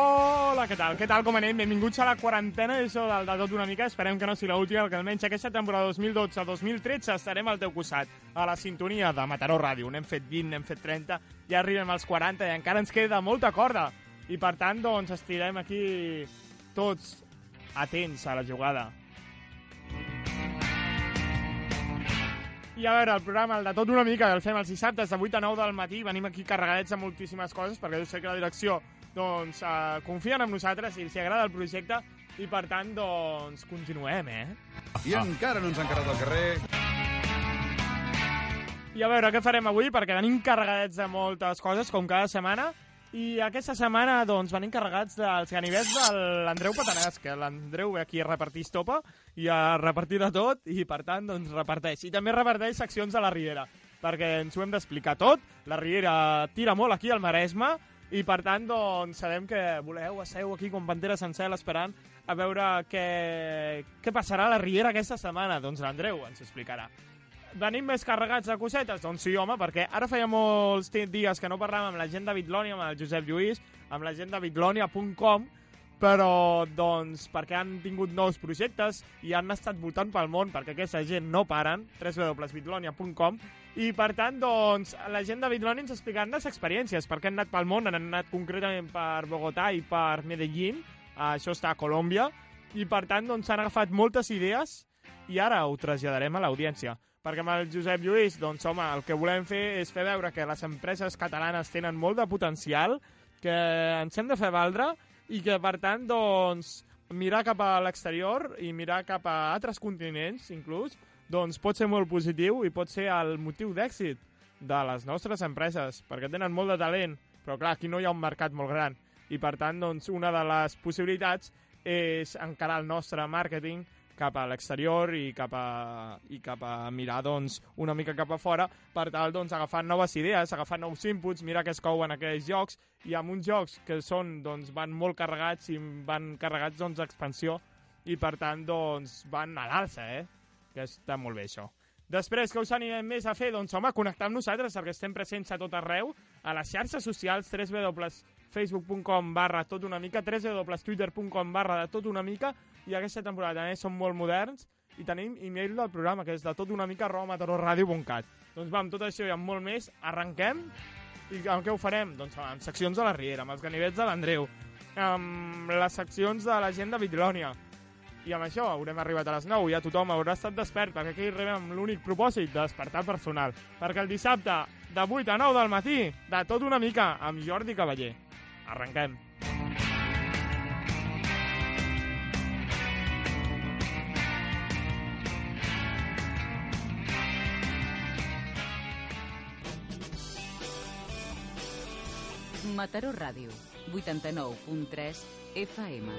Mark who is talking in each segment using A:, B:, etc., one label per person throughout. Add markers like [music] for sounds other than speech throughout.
A: Hola, què tal? Què tal, com anem? Benvinguts a la quarantena edició del de tot una mica. Esperem que no sigui l'última, perquè almenys aquesta temporada 2012-2013 estarem al teu costat, a la sintonia de Mataró Ràdio. N'hem fet 20, n'hem fet 30, ja arribem als 40 i encara ens queda molta corda. I per tant, doncs, estirem aquí tots atents a la jugada. I a veure, el programa, el de tot una mica, el fem els dissabtes de 8 a 9 del matí, venim aquí carregadets de moltíssimes coses, perquè jo sé que la direcció doncs, eh, confien en nosaltres i els agrada el projecte, i per tant, doncs, continuem, eh?
B: I encara no ens han carregat al carrer.
A: I a veure, què farem avui? Perquè venim carregadets de moltes coses, com cada setmana, i aquesta setmana, doncs, venim carregats dels ganivets de l'Andreu Patanàs, que l'Andreu ve aquí a repartir estopa i a repartir de tot, i per tant, doncs, reparteix. I també reparteix seccions de la Riera, perquè ens ho hem d'explicar tot. La Riera tira molt aquí al Maresme, i per tant, doncs, sabem que voleu, asseu aquí com pantera sencera esperant a veure què, què passarà a la Riera aquesta setmana. Doncs l'Andreu ens ho explicarà. Venim més carregats de cosetes? Doncs sí, home, perquè ara feia molts ti- dies que no parlàvem amb la gent de Bitlònia, amb el Josep Lluís, amb la gent de bitlònia.com, però, doncs, perquè han tingut nous projectes i han estat voltant pel món, perquè aquesta gent no paren, www.bitlònia.com, i, per tant, doncs, la gent de Bitlònia ens explicaran les experiències, perquè han anat pel món, han anat concretament per Bogotà i per Medellín, això està a Colòmbia, i, per tant, doncs, han agafat moltes idees i ara ho traslladarem a l'audiència. Perquè amb el Josep Lluís, doncs, home, el que volem fer és fer veure que les empreses catalanes tenen molt de potencial, que ens hem de fer valdre i que, per tant, doncs, mirar cap a l'exterior i mirar cap a altres continents, inclús, doncs pot ser molt positiu i pot ser el motiu d'èxit de les nostres empreses, perquè tenen molt de talent, però clar, aquí no hi ha un mercat molt gran. I per tant, doncs, una de les possibilitats és encarar el nostre màrqueting cap a l'exterior i cap a, i cap a mirar doncs, una mica cap a fora per tal doncs, agafar noves idees, agafar nous inputs, mirar què es cou en aquells jocs i amb uns jocs que són, doncs, van molt carregats i van carregats doncs, d'expansió i per tant doncs, van a l'alça, eh? que està molt bé això. Després, que us anirem més a fer? Doncs, home, connectar amb nosaltres, perquè estem presents a tot arreu, a les xarxes socials, www.facebook.com barra tot una mica, www.twitter.com barra de tot una mica, i aquesta temporada també som molt moderns, i tenim email del programa, que és de tot una mica arroba matarorradio.cat. Doncs va, amb tot això i amb molt més, arrenquem, i amb què ho farem? Doncs home, amb seccions de la Riera, amb els ganivets de l'Andreu, amb les seccions de la gent de Bitlònia, i amb això haurem arribat a les 9, ja tothom haurà estat despert, perquè aquí arribem amb l'únic propòsit de despertar personal. Perquè el dissabte, de 8 a 9 del matí, de tot una mica, amb Jordi Cavaller. Arrenquem.
C: Mataró Ràdio, 89.3 FM.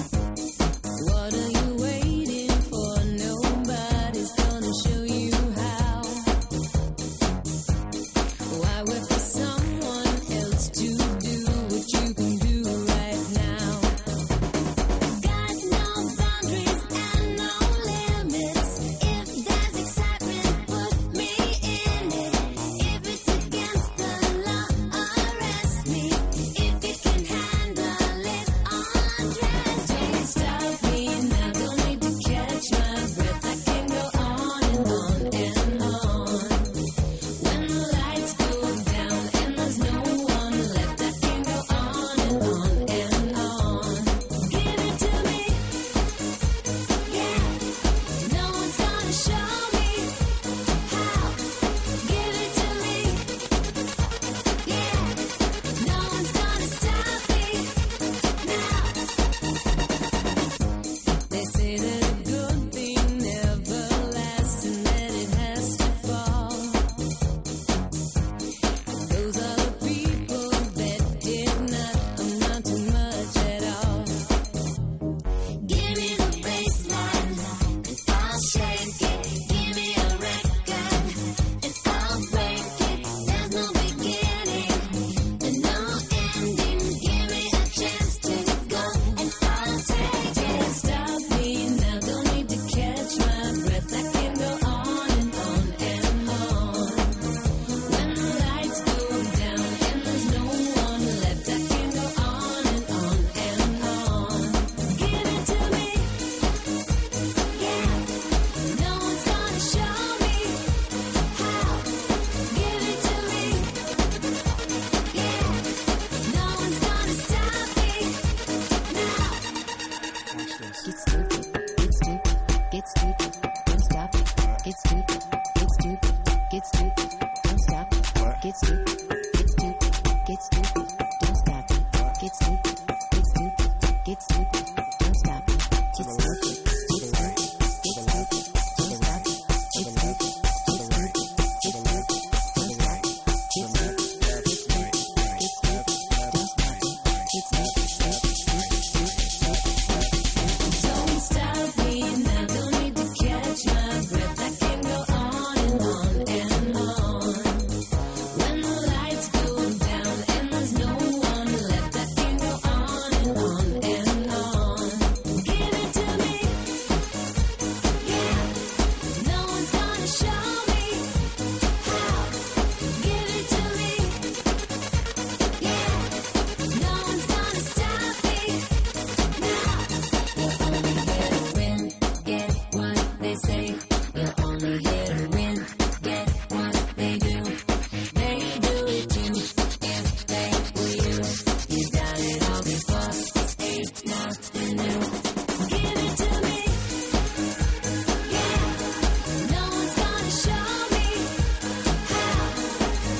D: What are you waiting for? Nobody's gonna show you how. Why wait for someone else to do what you can do right now? Got no boundaries and no limits. If there's excitement, put me in it. If it's against the law, arrest me. If you can handle it, undress me. Don't stop me now. Don't need to catch my breath. I can go on and on and on. When the lights go down,
E: Get stupid, get stupid, get stupid, don't stop it. Get stupid, get stupid, get stupid, don't stop it. Get stupid, get stupid, get stupid, don't stop it. Get stupid, get stupid, get stupid, don't stop it. Get stupid, get stupid, get stupid, don't stop it. Get stupid, stupid, stupid, stupid, stupid, stupid, stupid.
D: Don't stop me now, don't need to catch my breath. I can go on and on and on. When the lights go down and there's no one left, I can go on and on and on. Give it to me, yeah. No one's gonna show me how. Give it to me, yeah. No one's gonna stop me. You'll only get a win, get what they say. You'll only get a win, get what they do. They do it too, if they were you. You've done it all before, ain't nothing new. Give it to me, yeah. No one's gonna show me how.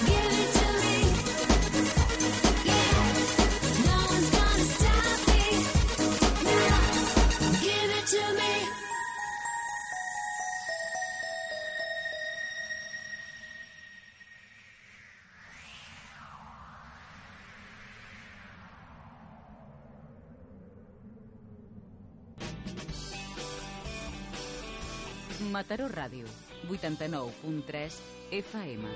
D: Give it to me, yeah. No one's gonna stop me. Give it to me.
C: Mataró Ràdio, 89.3 FM.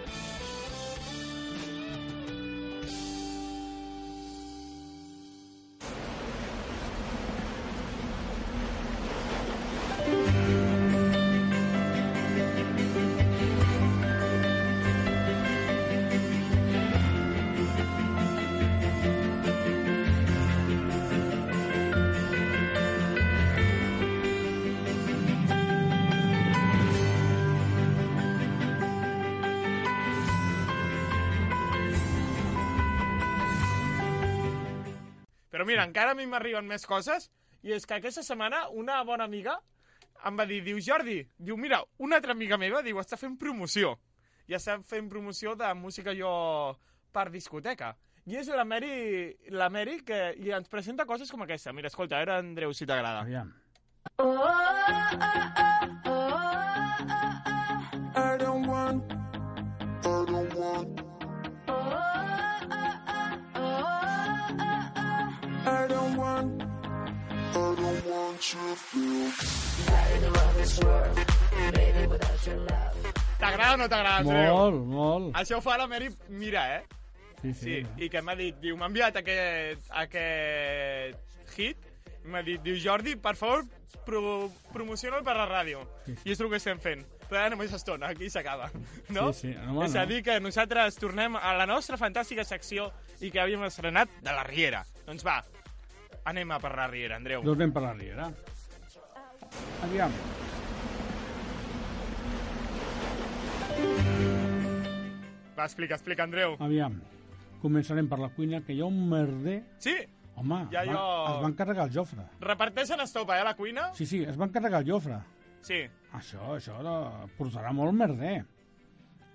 A: Però mira, encara a mi m'arriben més coses, i és que aquesta setmana una bona amiga em va dir, diu, Jordi, diu, mira, una altra amiga meva, diu, està fent promoció. I està fent promoció de música jo per discoteca. I és la Mary, la Mary que i ens presenta coses com aquesta. Mira, escolta, era Andreu, si t'agrada.
F: Aviam.
G: I don't want. I don't want. I don't want. I don't want your feel.
A: T'agrada o no t'agrada, Andreu?
F: Molt, molt.
A: Això ho fa la Mary, mira, eh?
F: Sí,
A: Ah, Sí,
F: sí.
A: i que m'ha dit, diu, m'ha enviat aquest, aquest hit, m'ha dit, diu, Jordi, per favor, pro, promociona'l per la ràdio. I és el que estem fent. Però ara només estona, aquí s'acaba, [laughs] no?
F: Sí, sí, home,
A: és a
F: no.
A: dir, que nosaltres tornem a la nostra fantàstica secció i que havíem estrenat de la Riera. Doncs va, anem a per la Riera, Andreu.
F: Doncs anem per la Riera. Aviam. Doncs-
A: Va, explica, explica, Andreu.
F: Aviam. Començarem per la cuina, que hi ha un merder...
A: Sí,
F: Home,
A: Ja
F: es va,
A: jo-
F: es van carregar el Jofre.
A: reparteixen estopa, eh, a la cuina?
F: Sí, sí, es van carregar el Jofre.
A: Sí.
F: Això, això eh, portarà molt merder.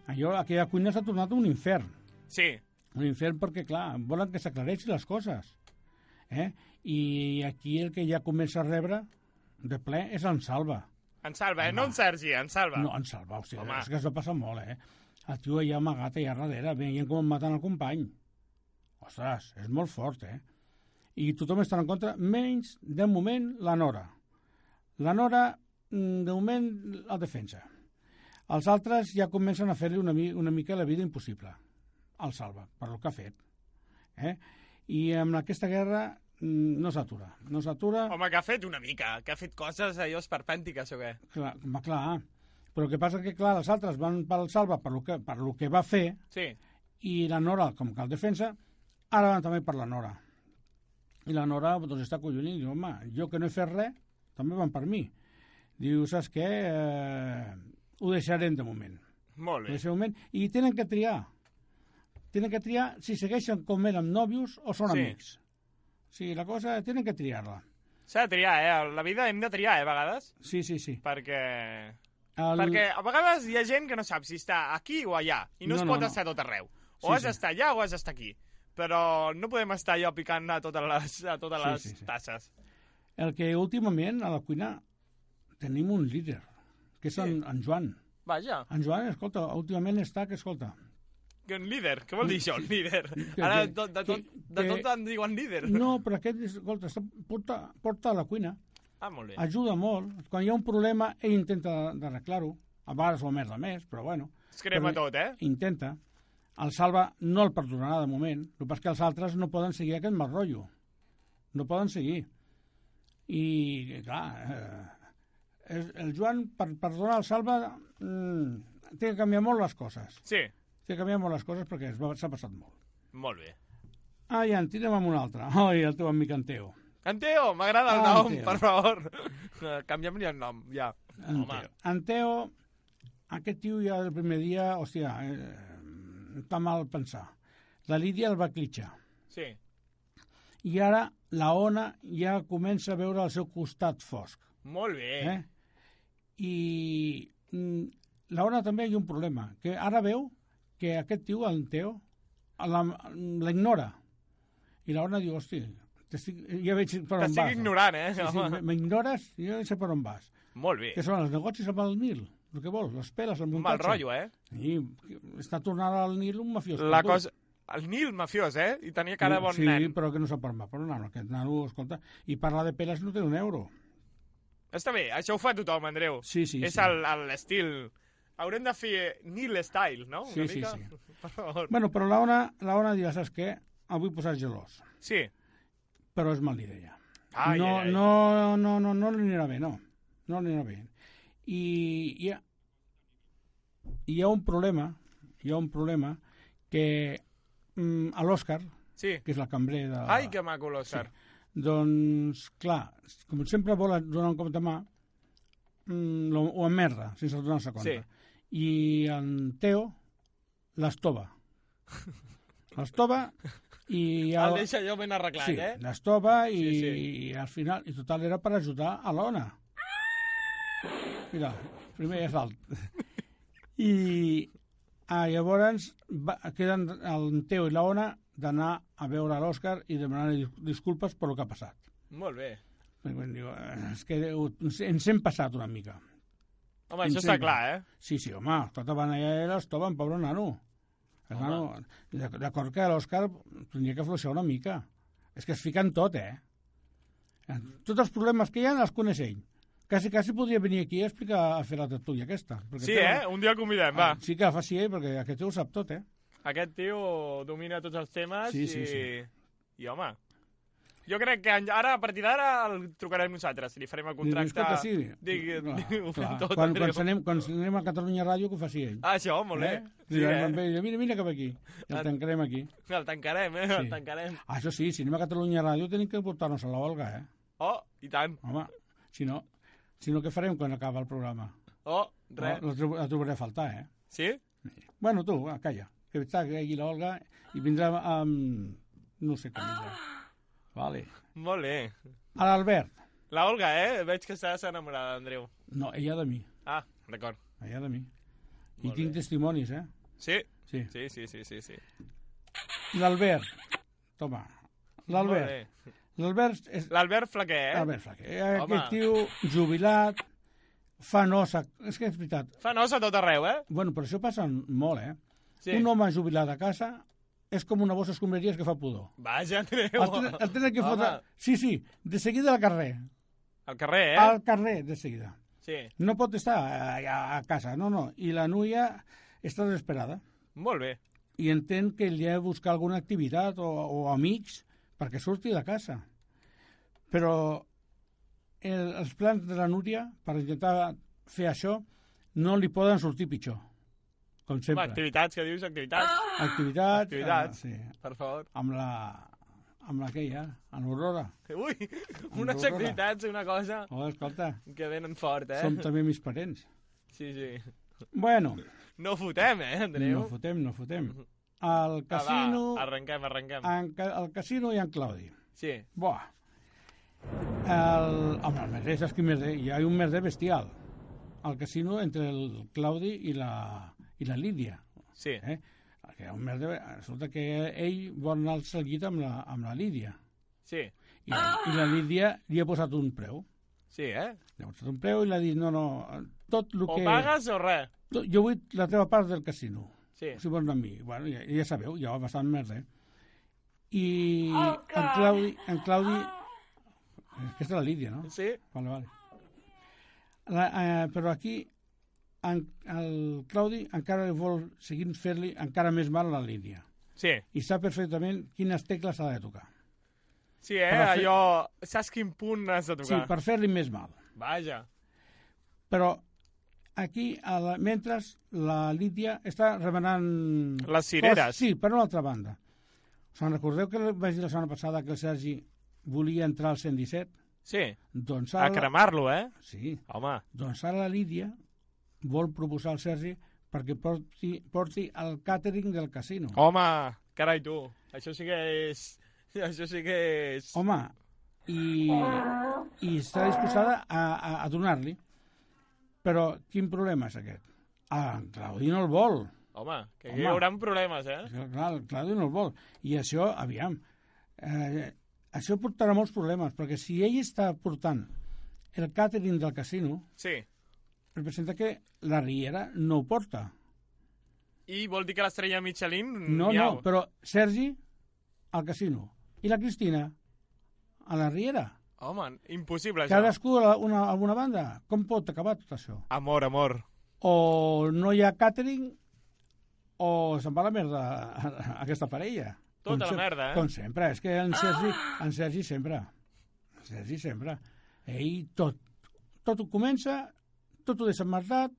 F: Allò, aquella cuina s'ha tornat un infern.
A: Sí,
F: Un infern perquè, clar, volen que s'aclareixin les coses. Eh? I aquí el que ja comença a rebre de ple és en Salva.
A: en salva, eh? No en Sergi, en salva.
F: No, en Salva, hòstia,
A: Home.
F: és que es va passar molt, eh? El tio allà amagat allà darrere, veient com maten el company. Ostres, és molt fort, eh? I tothom està en contra, menys, de moment, la Nora. La Nora, mm, de moment, la defensa. Els altres ja comencen a fer-li una, mi- una mica la vida impossible. El Salva, per el que ha fet. Eh? I amb aquesta guerra mm, no s'atura. No s'atura...
A: Home, que ha fet una mica, que ha fet coses eh, allò esperpèntiques o què?
F: Clar, home, clar. Però el que passa que, clar, els altres van pel Salva per lo que, per lo que va fer
A: Sí,
F: i la Nora, com que el defensa, ara van també per la Nora. I la Nora doncs, està collonint i diu, home, jo que no he fet res, també van per mi. Diu, saps què? Eh, ho deixarem de moment.
A: molt
F: En
A: bé.
F: ese moment, I tenen que triar. Tenen que triar si segueixen com eren nòvios o són
A: Sí.
F: sí. amics. Sí, la cosa, tenen que triar-la.
A: S'ha de triar, eh? A La vida hem de triar, eh, a vegades,
F: Sí, sí, sí.
A: perquè...
F: El...
A: Perquè a vegades hi ha gent que no sap si està aquí o allà, i no,
F: No,
A: es
F: no,
A: pot
F: no.
A: estar a tot arreu. O
F: Sí,
A: has
F: sí.
A: d'estar allà o has d'estar aquí. Però no podem estar allò picant a totes les, a totes
F: Sí,
A: les
F: sí, sí.
A: tasses.
F: El que últimament a la cuina tenim un líder, que és en, en Joan.
A: Vaja,
F: En Joan, escolta, últimament està que, escolta,
A: que un líder. Què vol dir això, un líder?
F: que-
A: Ara de tot, de
F: que-
A: tot, de
F: que-
A: tot en diuen líder.
F: no, però aquest, escolta, està, porta, porta a la cuina,
A: Ah, molt bé.
F: ajuda molt. Quan hi ha un problema, ell intenta d'arreglar-ho. A vegades ho merda més, però bueno,
A: Es crema
F: però-
A: tot, eh?
F: intenta. El Salva no el perdonarà de moment. El que passa és que els altres no poden seguir aquest mal rotllo. No poden seguir. I, clar, eh, és- el Joan, per perdonar el Salva, mm, té que canviar molt les coses.
A: Sí,
F: Té que canviar molt les coses perquè es va- s'ha passat molt.
A: molt bé.
F: Ah, ja, en tirem amb un altre. [laughs] Ai, el teu amic en Teo.
A: Anteo, m'agrada el
F: Ah,
A: nom,
F: Anteo.
A: per favor. [laughs] Eh, Canviem-li el nom, ja.
F: En
A: Home.
F: Teo. En Teo, aquest tio ja el primer dia, hòstia, eh, està mal pensar. La Lídia el va clitxar.
A: Sí.
F: i ara la ona ja comença a veure el seu costat fosc.
A: Molt bé.
F: Eh? I mm, la ona també hi ha un problema, que ara veu que aquest tio, el Teo, la, la ignora. I la ona diu, hosti, t'estic- ja veig per on
A: T'estic
F: vas.
A: ignorant, eh?
F: Sí, sí,
A: home.
F: M'ignores i ja sé per on vas.
A: Molt bé.
F: Que són els negocis amb el Nil, el que vols, les peles, el
A: Un
F: muntatge.
A: mal rotllo, eh?
F: Sí, està tornant al Nil un mafiós.
A: La
F: perdut.
A: cosa... El Nil, mafiós, eh? I tenia cara de bon
F: sí,
A: nen.
F: però que no s'ha parlat per un nano. Aquest nano, escolta, i parlar de peles no té un euro.
A: Està bé, això ho fa tothom, Andreu.
F: Sí, sí,
A: És
F: sí.
A: el- el estil... Haurem de fer Nil Style, no? Una
F: Sí, sí,
A: mica?
F: sí.
A: [laughs] Per favor.
F: Bueno, però la ona, la ona dirà, saps què? El vull posar gelós,
A: Sí.
F: però és mal idea.
A: Ai,
F: no,
A: ai, ai.
F: no, no, no, no li anirà bé, no. No li anirà bé. I hi ha, hi ha un problema, hi ha un problema que mm, a l'Òscar,
A: Sí.
F: que és la cambrer de...
A: Ai, que maco l'Òscar.
F: Doncs, clar, com sempre volen donar un cop de mà, mm, lo- ho emmerda, sense donar-se compte. Sí. I en Teo
A: [laughs]
F: l'estova. L'estova i...
A: El deixa allò ben arreglat,
F: sí,
A: eh?
F: l'estova i,
A: Sí,
F: sí,
A: sí.
F: sí. i al final, i total, era per ajudar a l'Ona. Mira, primer és
A: [laughs]
F: alt. I ah, llavors va, queden el Teo i la Ona d'anar a veure l'Òscar i demanar-li dis- disculpes per el que ha passat.
A: Molt bé.
F: Perquè quan Diu, "Eh, és que ho- ens ens hem passat una mica.
A: Home, això està
F: Intenta.
A: clar, eh?
F: Sí, sí, home, tota escolta, van allà i l'estoven, pobre nano. El nano d'ac- D'acord que l'Òscar tindria que fluixar una mica. És que es fica en tot, eh? En Tots els problemes que hi ha els coneix ell. Quasi, quasi podria venir aquí a explicar a fer la tertúlia aquesta. perquè
A: Sí,
F: té-
A: eh? Un dia el convidem, va.
F: Sí que la faci ell, perquè aquest ho sap tot, eh?
A: Aquest tio domina tots els temes
F: Sí, sí,
A: i...
F: sí.
A: I, home, jo crec que en- ara, a partir d'ara, el trucarem nosaltres. Li farem el contracte...
F: Escolta, sí.
A: Digui,
F: Clar,
A: digui, ho fem
F: clar.
A: [laughs] tot,
F: quan, quan,
A: Andreu.
F: anem, quan anem a Catalunya Ràdio, que ho faci ell.
A: Ah, això, molt bé. Sí,
F: Direm,
A: eh?
F: eh? Mira, mira cap aquí. I
A: Ah.
F: el tancarem aquí.
A: El tancarem, eh? El
F: Sí.
A: tancarem.
F: Ah, això sí, si anem a Catalunya Ràdio tenim que portar-nos a la Olga, eh?
A: Oh, i tant.
F: Home, si no, si no què farem quan acaba el programa?
A: Oh, res.
F: La, tro- la trobaré a faltar, eh?
A: Sí?
F: Bueno, tu, va, calla, que està aquí l'Olga i vindrà amb... no sé com vindrà. Vale.
A: Molt bé.
F: A l'Albert.
A: La Olga, eh? Veig que estàs enamorada, Andreu.
F: No, ella de mi,
A: Ah, d'acord.
F: ella de mi. I
A: Molt
F: tinc
A: bé.
F: testimonis, eh?
A: Sí?
F: Sí.
A: Sí, sí, sí, sí, sí.
F: L'Albert. Toma. L'Albert.
A: Molt bé.
F: L'Albert és...
A: L'Albert Flaquer, eh?
F: L'Albert Flaquer.
A: Home.
F: Eh, Aquest tio jubilat, fa nosa... És que és veritat.
A: Fa nos a tot arreu, eh?
F: Bueno, però això passa molt, eh?
A: Sí.
F: Un home jubilat a casa és com una bossa escombraries que fa pudor.
A: Vaja, Andreu.
F: El tenen, el tenen que
A: Home.
F: fotre... Sí, sí, de seguida al carrer.
A: Al carrer, eh?
F: Al carrer, de seguida.
A: Sí.
F: No pot estar eh, a, a casa, no, no. I la noia està desesperada
A: Molt bé.
F: i entén que li ha de buscar alguna activitat o, o amics perquè surti de casa. Però el, els plans de la Núria per intentar fer això no li poden sortir pitjor, com
A: Home,
F: sempre.
A: activitats, que dius
F: Ah!
A: activitats,
F: Activitats,
A: Activitats.
F: Eh, sí,
A: per favor.
F: amb la amb aquella, amb l'Aurora.
A: Ui,
F: Amb
A: unes
F: l'Aurora.
A: activitats, una cosa
F: Oh, escolta,
A: que venen fort, eh?
F: som també mis parents.
A: Sí, sí.
F: Bueno,
A: No fotem, eh, Andreu?
F: no fotem, no fotem. Al
A: Ah,
F: casino, Ah.
A: va, arrenquem, arrenquem.
F: en, ca- al casino i en Claudi.
A: Sí,
F: Buah. El, home, el merder, saps quin merder? Hi ha un merder bestial. Al casino entre el Claudi i la, i la Lídia.
A: sí.
F: Eh? Perquè un merda, resulta que ell vol anar-se al llit amb la, amb la Lídia.
A: Sí,
F: I, I la Lídia li ha posat un preu.
A: sí, eh?
F: Li ha posat un preu i li ha dit, no, no, tot el
A: O
F: que...
A: pagues o res.
F: tot- Jo vull la teva part del casino.
A: Sí.
F: Si vols anar amb mi. Bueno, ja, ja sabeu, ja va bastant merda. eh? I oh, en Claudi... En Claudi...
A: Ah.
F: Eh, Aquesta és la Lídia, no?
A: Sí,
F: Vale, vale. La, eh, però aquí en, el Claudi encara li vol seguir fer-li encara més mal a la Lídia
A: sí,
F: i sap perfectament quines tecles ha de tocar.
A: sí, eh?
F: Per fer-
A: Allò... Saps quin punt has de
F: Sí,
A: tocar?
F: per fer-li més mal.
A: Vaja.
F: Però aquí, a la, mentre la Lídia està remenant...
A: Les cireres.
F: Cos, sí, per una altra banda. Se'n recordeu que vaig dir la setmana passada que el Sergi volia entrar al 117?
A: Sí,
F: Doncs
A: a
F: ara...
A: cremar-lo, eh?
F: Sí,
A: Home,
F: Doncs ara la Lídia vol proposar al Sergi perquè porti, porti el càtering del casino.
A: home, carai tu, això sí que és... [laughs] Això sí que és...
F: Home, i, i està disposada a, a, a donar-li. Però quin problema és aquest? Ah, en Claudi no el vol.
A: Home, que
F: Home.
A: hi hauran problemes, eh?
F: Clar, el Claudi no el vol. I això, aviam, eh, això portarà molts problemes, perquè si ell està portant el càtering del casino,
A: Sí.
F: representa que la Riera no ho porta.
A: I vol dir que l'estrella Michelin...
F: No,
A: miau.
F: no, però Sergi al casino i la Cristina a la Riera.
A: Home, impossible, això.
F: Cadascú a la- una, a una banda. Com pot acabar tot això?
A: Amor, amor.
F: O no hi ha càtering o se'n va a la merda [laughs] aquesta parella.
A: Tota
F: Com
A: la
F: se-
A: merda, eh?
F: Com sempre. És que en Sergi, en Sergi sempre. En Sergi sempre. Ell tot, tot ho comença, tot ho deixa emmerdat,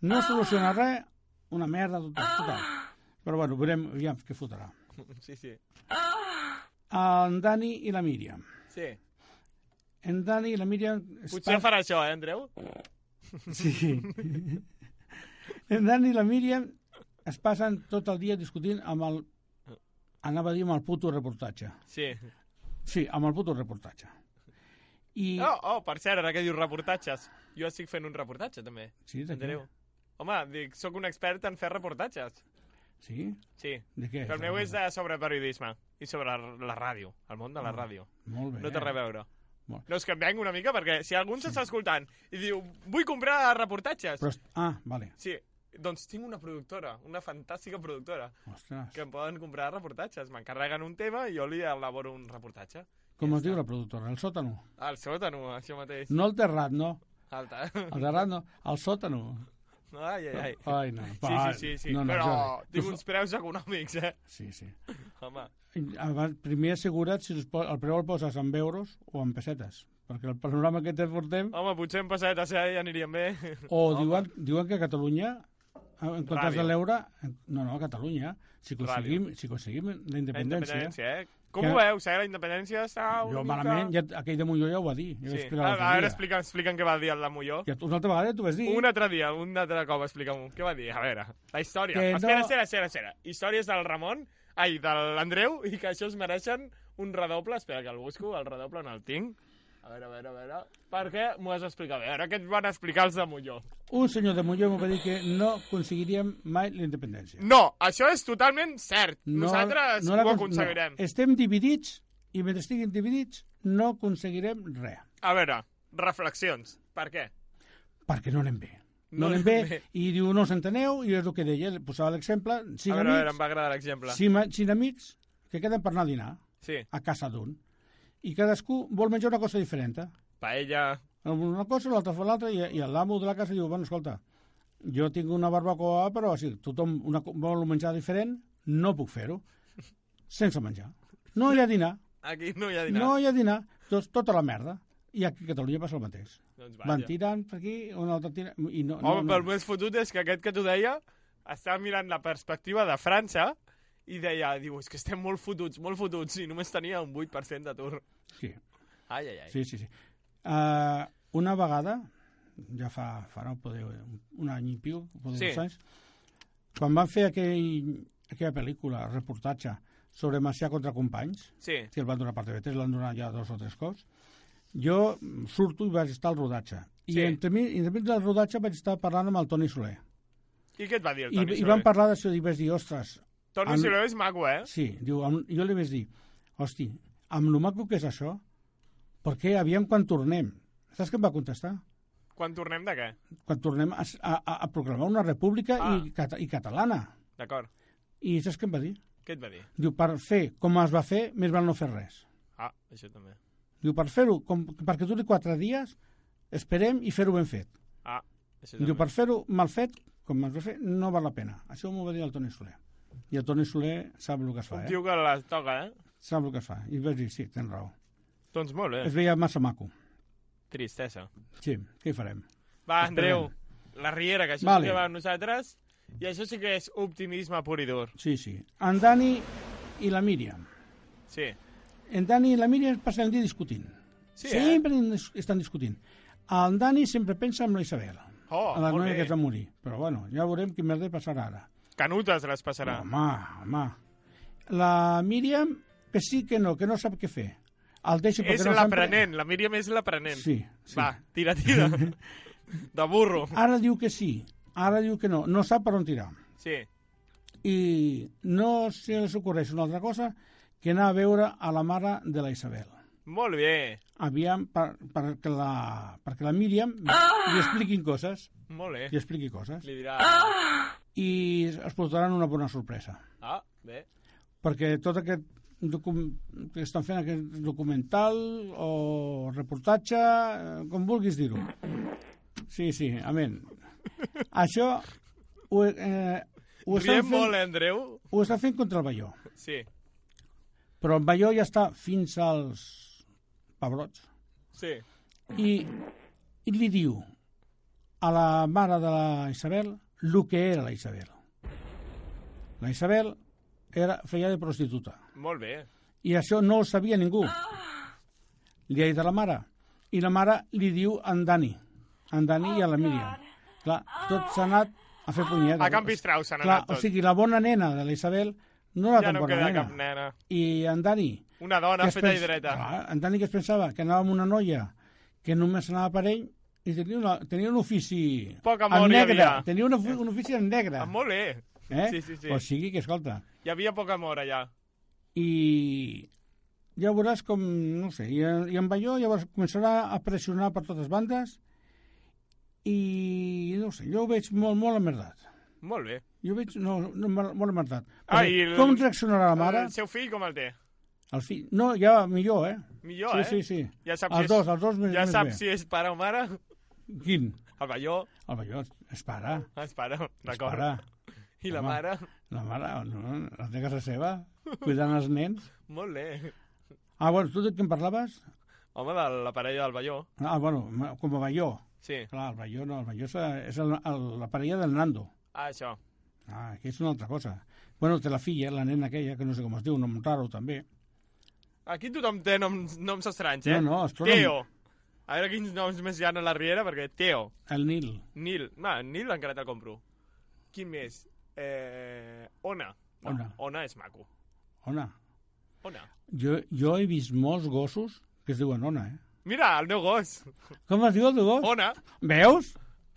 F: no soluciona res, una merda total. total. Però bueno, veurem aviam què fotrà.
A: Sí, sí.
F: en Dani i la Míriam.
A: Sí.
F: En Dani i la Míriam... es
A: Potser
F: par-
A: farà això, eh, Andreu?
F: Sí. en Dani i la Míriam es passen tot el dia discutint amb el... Anava a dir amb el puto reportatge.
A: Sí.
F: Sí, amb el puto reportatge. I...
A: Oh, oh, per cert, ara que dius reportatges, jo estic fent un reportatge, també.
F: sí, de què?
A: Andreu. Home, dic, sóc un expert en fer reportatges.
F: Sí?
A: Sí.
F: De què?
A: Però el meu és de, sobre periodisme i sobre la ràdio, el món de la ràdio.
F: Molt Ah, bé.
A: No té res a veure.
F: Molt.
A: No, és que em venc una mica perquè si algú ens està escoltant i diu vull comprar reportatges,
F: Però... Ah, vale.
A: sí, doncs tinc una productora, una fantàstica productora,
F: Ostres.
A: que em poden comprar reportatges. M'encarreguen un tema i jo li elaboro un reportatge.
F: Com es diu la productora? El sòtano?
A: Al sòtano, això mateix.
F: No el terrat, no.
A: Alta. [laughs]
F: El terrat, no. El sòtano.
A: Ai, ai, ai.
F: Ai, no.
A: Sí,
F: va,
A: sí, sí, sí.
F: no, no,
A: Però
F: Jordi.
A: tinc uns preus econòmics, eh?
F: Sí, sí.
A: Home,
F: Abans, primer assegura't si els po- el preu el poses en euros o en pessetes, perquè el panorama que te portem,
A: home potser en pessetes eh, ja aniríem bé.
F: o diuen, diuen que a Catalunya, en comptes
A: Ràdio.
F: de l'euro, en- no, no, a Catalunya, si aconseguim, si aconseguim la
A: La
F: independència,
A: independència, eh? Com
F: Que-
A: ho veus, eh? La independència està una
F: jo
A: mica...
F: malament, ja, aquell de Molló ja ho va dir, ja
A: Sí.
F: sí.
A: A, a veure,
F: explica...
A: explica'm, explica'm què va dir el de Molló.
F: ja, una altra vegada ja t'ho vas dir,
A: Un altre dia, un altre cop, explica'm què va dir. A veure, la història.
F: Que no-
A: Espera, espera, espera, espera. Històries del Ramon, ai, de l'Andreu, i que això es mereixen un redoble. Espera, que el busco, el redoble no el tinc. A veure, a veure, a veure... Perquè m'ho has d'explicar bé. A veure què et van explicar els de Molló.
F: un senyor de Molló m'ho va dir que no aconseguiríem mai la independència.
A: No, això és totalment cert. Nosaltres
F: la
A: ho
F: acon-
A: aconseguirem.
F: No. Estem dividits, i mentre estiguin dividits no aconseguirem res.
A: A veure, reflexions. Per què?
F: perquè no anem bé.
A: No
F: No, anem bé,
A: anem bé.
F: i diu, no us enteneu, i és el que deia, li posava l'exemple,
A: A
F: cinc
A: veure, a veure, em
F: amics,
A: va agradar l'exemple.
F: cinc, ma- cinc amics que queden per anar a dinar
A: sí.
F: a casa d'un, i cadascú vol menjar una cosa diferent. eh?
A: Paella.
F: Una cosa, l'altra fa l'altra, i, i l'amo de la casa diu, bueno, escolta, jo tinc una barbacoa, però si tothom una, co- vol un menjar diferent, no puc fer-ho, sense menjar. No hi ha dinar,
A: Aquí no hi ha dinar.
F: no hi ha dinar, tot, tota la merda. I aquí a Catalunya passa el mateix.
A: Doncs
F: Van tirant per aquí, un altre tirant... I no,
A: Home,
F: no,
A: però el
F: no.
A: més fotut és que aquest que t'ho deia estava mirant la perspectiva de França i deia, diu, és que estem molt fotuts, molt fotuts, i només tenia un 8% d'atur.
F: Sí.
A: Ai, ai, ai.
F: Sí, sí, sí. Uh, una vegada, ja fa, farà poder, un any i piu, poder
A: Sí.
F: sí. dos anys, quan van fer aquell, aquella pel·lícula, reportatge, sobre Macià contra companys,
A: Sí,
F: que el van donar per TV3, l'han donat ja dos o tres cops, jo surto i vaig estar al rodatge. I
A: Sí.
F: sí. entre, mi, entre mig del rodatge vaig estar parlant amb el Toni Soler.
A: I què et va dir el
F: I,
A: Toni
F: I
A: Soler?
F: vam parlar d'això i vaig dir, ostres,
A: Toni
F: Amb-
A: Silvera és maco, eh?
F: Sí, diu, amb, jo li vaig dir, hosti, amb lo maco que és això, per què aviam quan tornem? Saps què em va contestar?
A: Quan tornem de què?
F: Quan tornem a, a, a proclamar una república ah.
A: Ah.
F: i, cata, i catalana.
A: D'acord.
F: I saps què em va dir?
A: Què et va dir?
F: Diu, per fer com es va fer, més val no fer res.
A: Ah, això també.
F: Diu, per fer-ho, com- perquè duri quatre dies, esperem i fer-ho ben fet.
A: Ah, això
F: Diu,
A: també.
F: per fer-ho mal fet, com es va fer, no val la pena. Això m'ho va dir el Toni Soler. I el Toni Soler sap el que es fa,
A: Un
F: eh?
A: tio que les toca, eh?
F: Sap el que es fa. I vaig dir, sí, tens raó.
A: Doncs molt,
F: Es
A: eh?
F: veia massa maco.
A: Tristesa.
F: Sí, què hi farem?
A: Va, Andreu, la Riera, que això
F: Vale.
A: sí que va amb nosaltres. I això sí que és optimisme pur i dur.
F: Sí, sí. En Dani i la Míriam.
A: Sí.
F: En Dani i la Míriam passen el dia discutint.
A: Sí, eh?
F: sempre dis- estan discutint. El Dani sempre pensa en la Isabel,
A: Oh,
F: a la
A: molt
F: noia que es va
A: bé.
F: morir. Però bueno, ja veurem quin merder passarà ara.
A: Canutes les passarà.
F: Home, home. La Míriam, que sí que no, que no sap què fer. El deixa perquè
A: és
F: no sap-
A: l'aprenent, la Míriam és l'aprenent.
F: Sí, sí.
A: Va, tira,
F: [laughs]
A: tira. de burro.
F: Ara diu que sí, ara diu que no. No sap per on tirar.
A: Sí.
F: I no se li ocorreix una altra cosa que anar a veure a la mare de la Isabel.
A: Molt bé.
F: Aviam per, perquè, la, perquè la Míriam
A: Ah!
F: li expliquin coses,
A: Molt bé.
F: li expliqui coses,
A: Li dirà...
F: i es portaran una bona sorpresa.
A: Ah, bé.
F: perquè tot aquest docum que estan fent aquest documental o reportatge, eh, com vulguis dir-ho. Sí, sí, amén. Això ho, eh, ho, estan
A: Riem
F: fent,
A: molt, eh, Andreu?
F: ho estan fent contra el Balló.
A: Sí.
F: Però el Balló ja està fins als pebrots.
A: Sí.
F: I, I li diu a la mare de la Isabel el que era la Isabel. La Isabel era, feia de prostituta.
A: Molt bé.
F: I això no ho sabia ningú. Li ha dit a la mare. I la mare li diu a en Dani. A en Dani i a la Míriam. Clar, tot s'ha anat a fer punyetes.
A: A Campi Strauss han
F: Clar,
A: anat
F: o
A: tot.
F: sigui, la bona nena de la Isabel no era
A: ja
F: tan
A: no
F: bona
A: queda
F: nena.
A: cap nena.
F: I en Dani...
A: Una dona
F: que es
A: feta i
F: pens-
A: dreta.
F: Clar, en Dani que es pensava que anava amb una noia que només anava per ell i tenia, una, tenia un ofici
A: Poc
F: en
A: amor hi
F: negre.
A: havia.
F: Tenia un, ofi- un ofici en negre.
A: Ah, molt bé.
F: eh?
A: Sí, sí, sí.
F: O sigui que, escolta,
A: Hi havia poc amor allà.
F: i ja veuràs com, no ho sé, i, i en Balló llavors començarà a pressionar per totes bandes i no ho sé, jo ho veig molt, molt amerdat.
A: Molt bé.
F: Jo ho veig no, no, molt molt amerdat.
A: Ah,
F: Perquè
A: i el- Ah,
F: Com reaccionarà la mare?
A: El Eh, seu fill com el té?
F: El fill? No, ja millor, eh?
A: Millor, eh?
F: sí, sí, sí.
A: Ja sap
F: els
A: si
F: dos,
A: és,
F: els dos més,
A: ja
F: més
A: sap
F: bé.
A: si és pare o mare. [laughs]
F: Quin?
A: El Balló,
F: El Balló es para,
A: es pare,
F: es
A: d'acord.
F: para.
A: I la
F: Home.
A: mare,
F: La mare, no, la té a casa seva, cuidant els nens.
A: molt bé.
F: Ah, bueno, tu de què em parlaves?
A: Home, de la parella del Balló.
F: Ah, bueno, com a Balló.
A: Sí,
F: Clar, el Balló no, el Balló és, és el, el, la parella del Nando.
A: ah, això.
F: Ah, que és una altra cosa. Bueno, té la filla, la nena aquella, que no sé com es diu, un nom raro també.
A: Aquí tothom té noms, noms estranys, eh?
F: No, no, es troben-
A: Teo. A veure quins noms més hi ha a la Riera, perquè Teo,
F: El Nil.
A: Nil, no, Nil encara te'l compro. Quin més? Eh, Ona. No,
F: Ona.
A: Ona és maco.
F: Ona.
A: Ona.
F: Jo, jo he vist molts gossos que es diuen Ona, eh?
A: Mira, el meu
F: [laughs]
A: gos.
F: Com es diu el teu gos?
A: Ona.
F: Veus?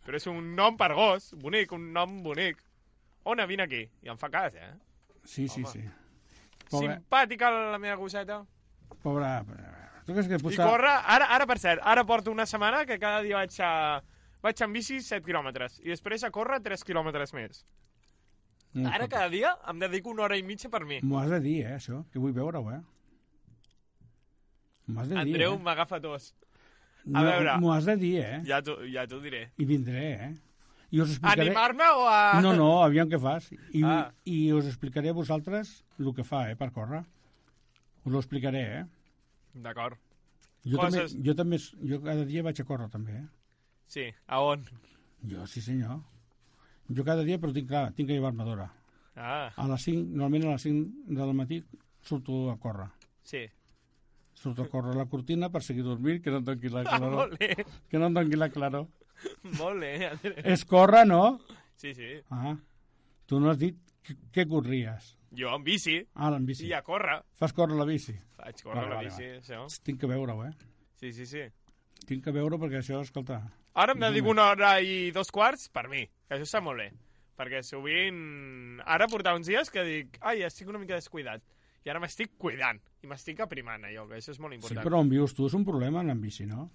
A: Però és un nom per gos, bonic, un nom bonic. Ona, vine aquí. I em fa cas, eh?
F: Sí, sí, sí.
A: Pobre.
F: Pobre,
A: Simpàtica la meva gosseta.
F: pobre... Tu creus que
A: I
F: posar...
A: corre... Ara, ara, per cert, ara porto una setmana que cada dia vaig a... Vaig amb bici 7 quilòmetres i després a córrer 3 quilòmetres més.
F: Mm,
A: Ara
F: escolta,
A: cada dia em dedico una hora i mitja per mi.
F: M'ho has de dir, eh, això, que vull veure-ho, eh? M'ho has de dir,
A: Andreu
F: eh?
A: m'agafa tos.
F: No,
A: veure.
F: M'ho has de dir, eh?
A: Ja t'ho ja t'ho diré.
F: I vindré, eh? I us explicaré...
A: Animar-me o a...
F: No, no, aviam què fas. I,
A: Ah.
F: ah. I us explicaré a vosaltres el que fa, eh, per córrer. Us ho explicaré, eh?
A: D'acord.
F: Jo
A: Coses-
F: també, jo també, s- jo cada dia vaig a córrer, també, eh?
A: Sí, a on?
F: Jo, sí senyor. Jo cada dia, però tinc, clar, tinc que llevar-me d'hora.
A: Ah,
F: A les 5, normalment a les 5 del matí surto a córrer.
A: sí.
F: Surto a córrer a la cortina per seguir dormint, que no em doni la claror.
A: Ah, Molt bé,
F: que no em doni la claror.
A: molt bé. Andreu.
F: És córrer, no?
A: Sí, sí.
F: Ah, tu no has dit que, que corries.
A: Jo amb bici
F: Ah,
A: sí.
F: en bici.
A: i a córrer.
F: Fas córrer la bici.
A: Vaig córrer
F: Vale,
A: la
F: vale,
A: bici, això.
F: Tinc que veure-ho, eh?
A: Sí, sí, sí.
F: Tinc que veure perquè això, escolta...
A: Ara em dedico una hora i dos quarts per mi, que això està molt bé. Perquè sovint... Ara portava uns dies que dic, ai, estic una mica descuidat. I ara m'estic cuidant. I m'estic aprimant, allò, que això és molt
F: Sí,
A: important.
F: però on vius tu és un problema anar amb bici, no?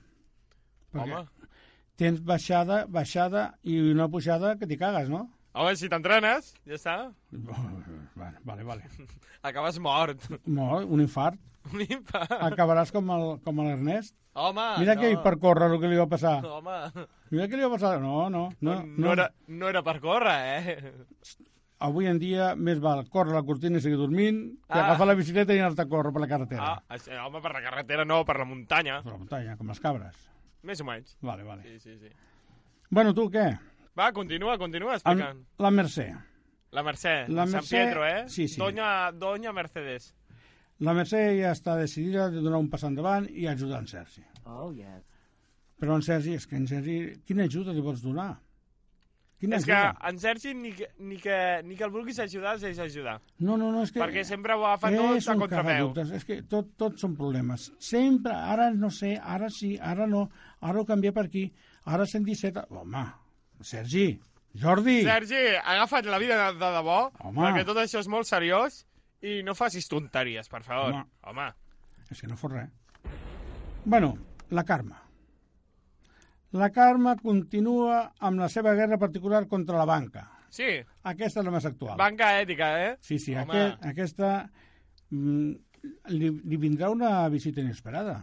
F: Perquè
A: Home,
F: tens baixada, baixada i una pujada que t'hi cagues, no?
A: home, si t'entrenes, ja està.
F: Vale, vale, vale.
A: Acabes mort. [laughs]
F: No, un infart.
A: Un infant.
F: Acabaràs com el, com l'Ernest.
A: Home,
F: Mira
A: Ah, no.
F: que ell per córrer el que li va passar.
A: Home,
F: Mira què li va passar. No, no,
A: no,
F: no.
A: no, era, no era per córrer, eh?
F: Avui en dia més val córrer la cortina i seguir dormint que
A: Ah.
F: agafar la bicicleta i anar-te a córrer per la carretera.
A: Ah, això, home, per la carretera no, per la muntanya.
F: Per la muntanya, com les cabres.
A: Més o menys.
F: Vale, vale.
A: Sí, sí, sí.
F: Bueno, tu què?
A: Va, continua, continua explicant.
F: Amb la Mercè.
A: La Mercè,
F: La
A: San
F: Mercè-
A: Pietro, eh?
F: sí, sí.
A: Doña, Doña Mercedes.
F: La Mercè ja està decidida de donar un pas endavant i ajudar en Sergi.
C: Oh, yes.
F: Però en Sergi, és que en Sergi, quina ajuda li vols donar? Quina
A: és que
F: ajuda?
A: en Sergi ni que, ni, que, ni que el vulguis ajudar, es deixa ajudar.
F: No, no, no, és que...
A: Perquè sempre ho agafa tot
F: és
A: a
F: un
A: contrapeu.
F: cagadubtes, És que tot, tot són problemes. Sempre, ara no sé, ara sí, ara no, ara ho canvia per aquí, ara 117... Home, Sergi, Jordi...
A: Sergi, agafa't la vida de, de debò,
F: Home.
A: perquè tot això és molt seriós i no facis tonteries, per favor.
F: Home.
A: Home.
F: És que no fos res. Bueno, la Carme. La Carme continua amb la seva guerra particular contra la banca.
A: Sí,
F: Aquesta és la més actual.
A: banca ètica, eh?
F: Sí, sí,
A: Home.
F: aquest, aquesta... Mm, li, li vindrà una visita inesperada.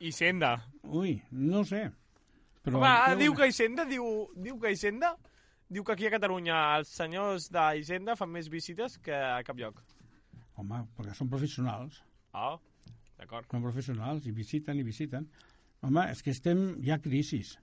A: Hisenda.
F: Ui, no sé. Però
A: Home, ara
F: té
A: diu
F: una-
A: que Hisenda, diu, diu que Hisenda, diu que aquí a Catalunya els senyors d'Hisenda fan més visites que a cap lloc.
F: Home, perquè són professionals.
A: Oh, d'acord.
F: Són professionals i visiten i visiten. Home, és que estem... Hi ha crisis.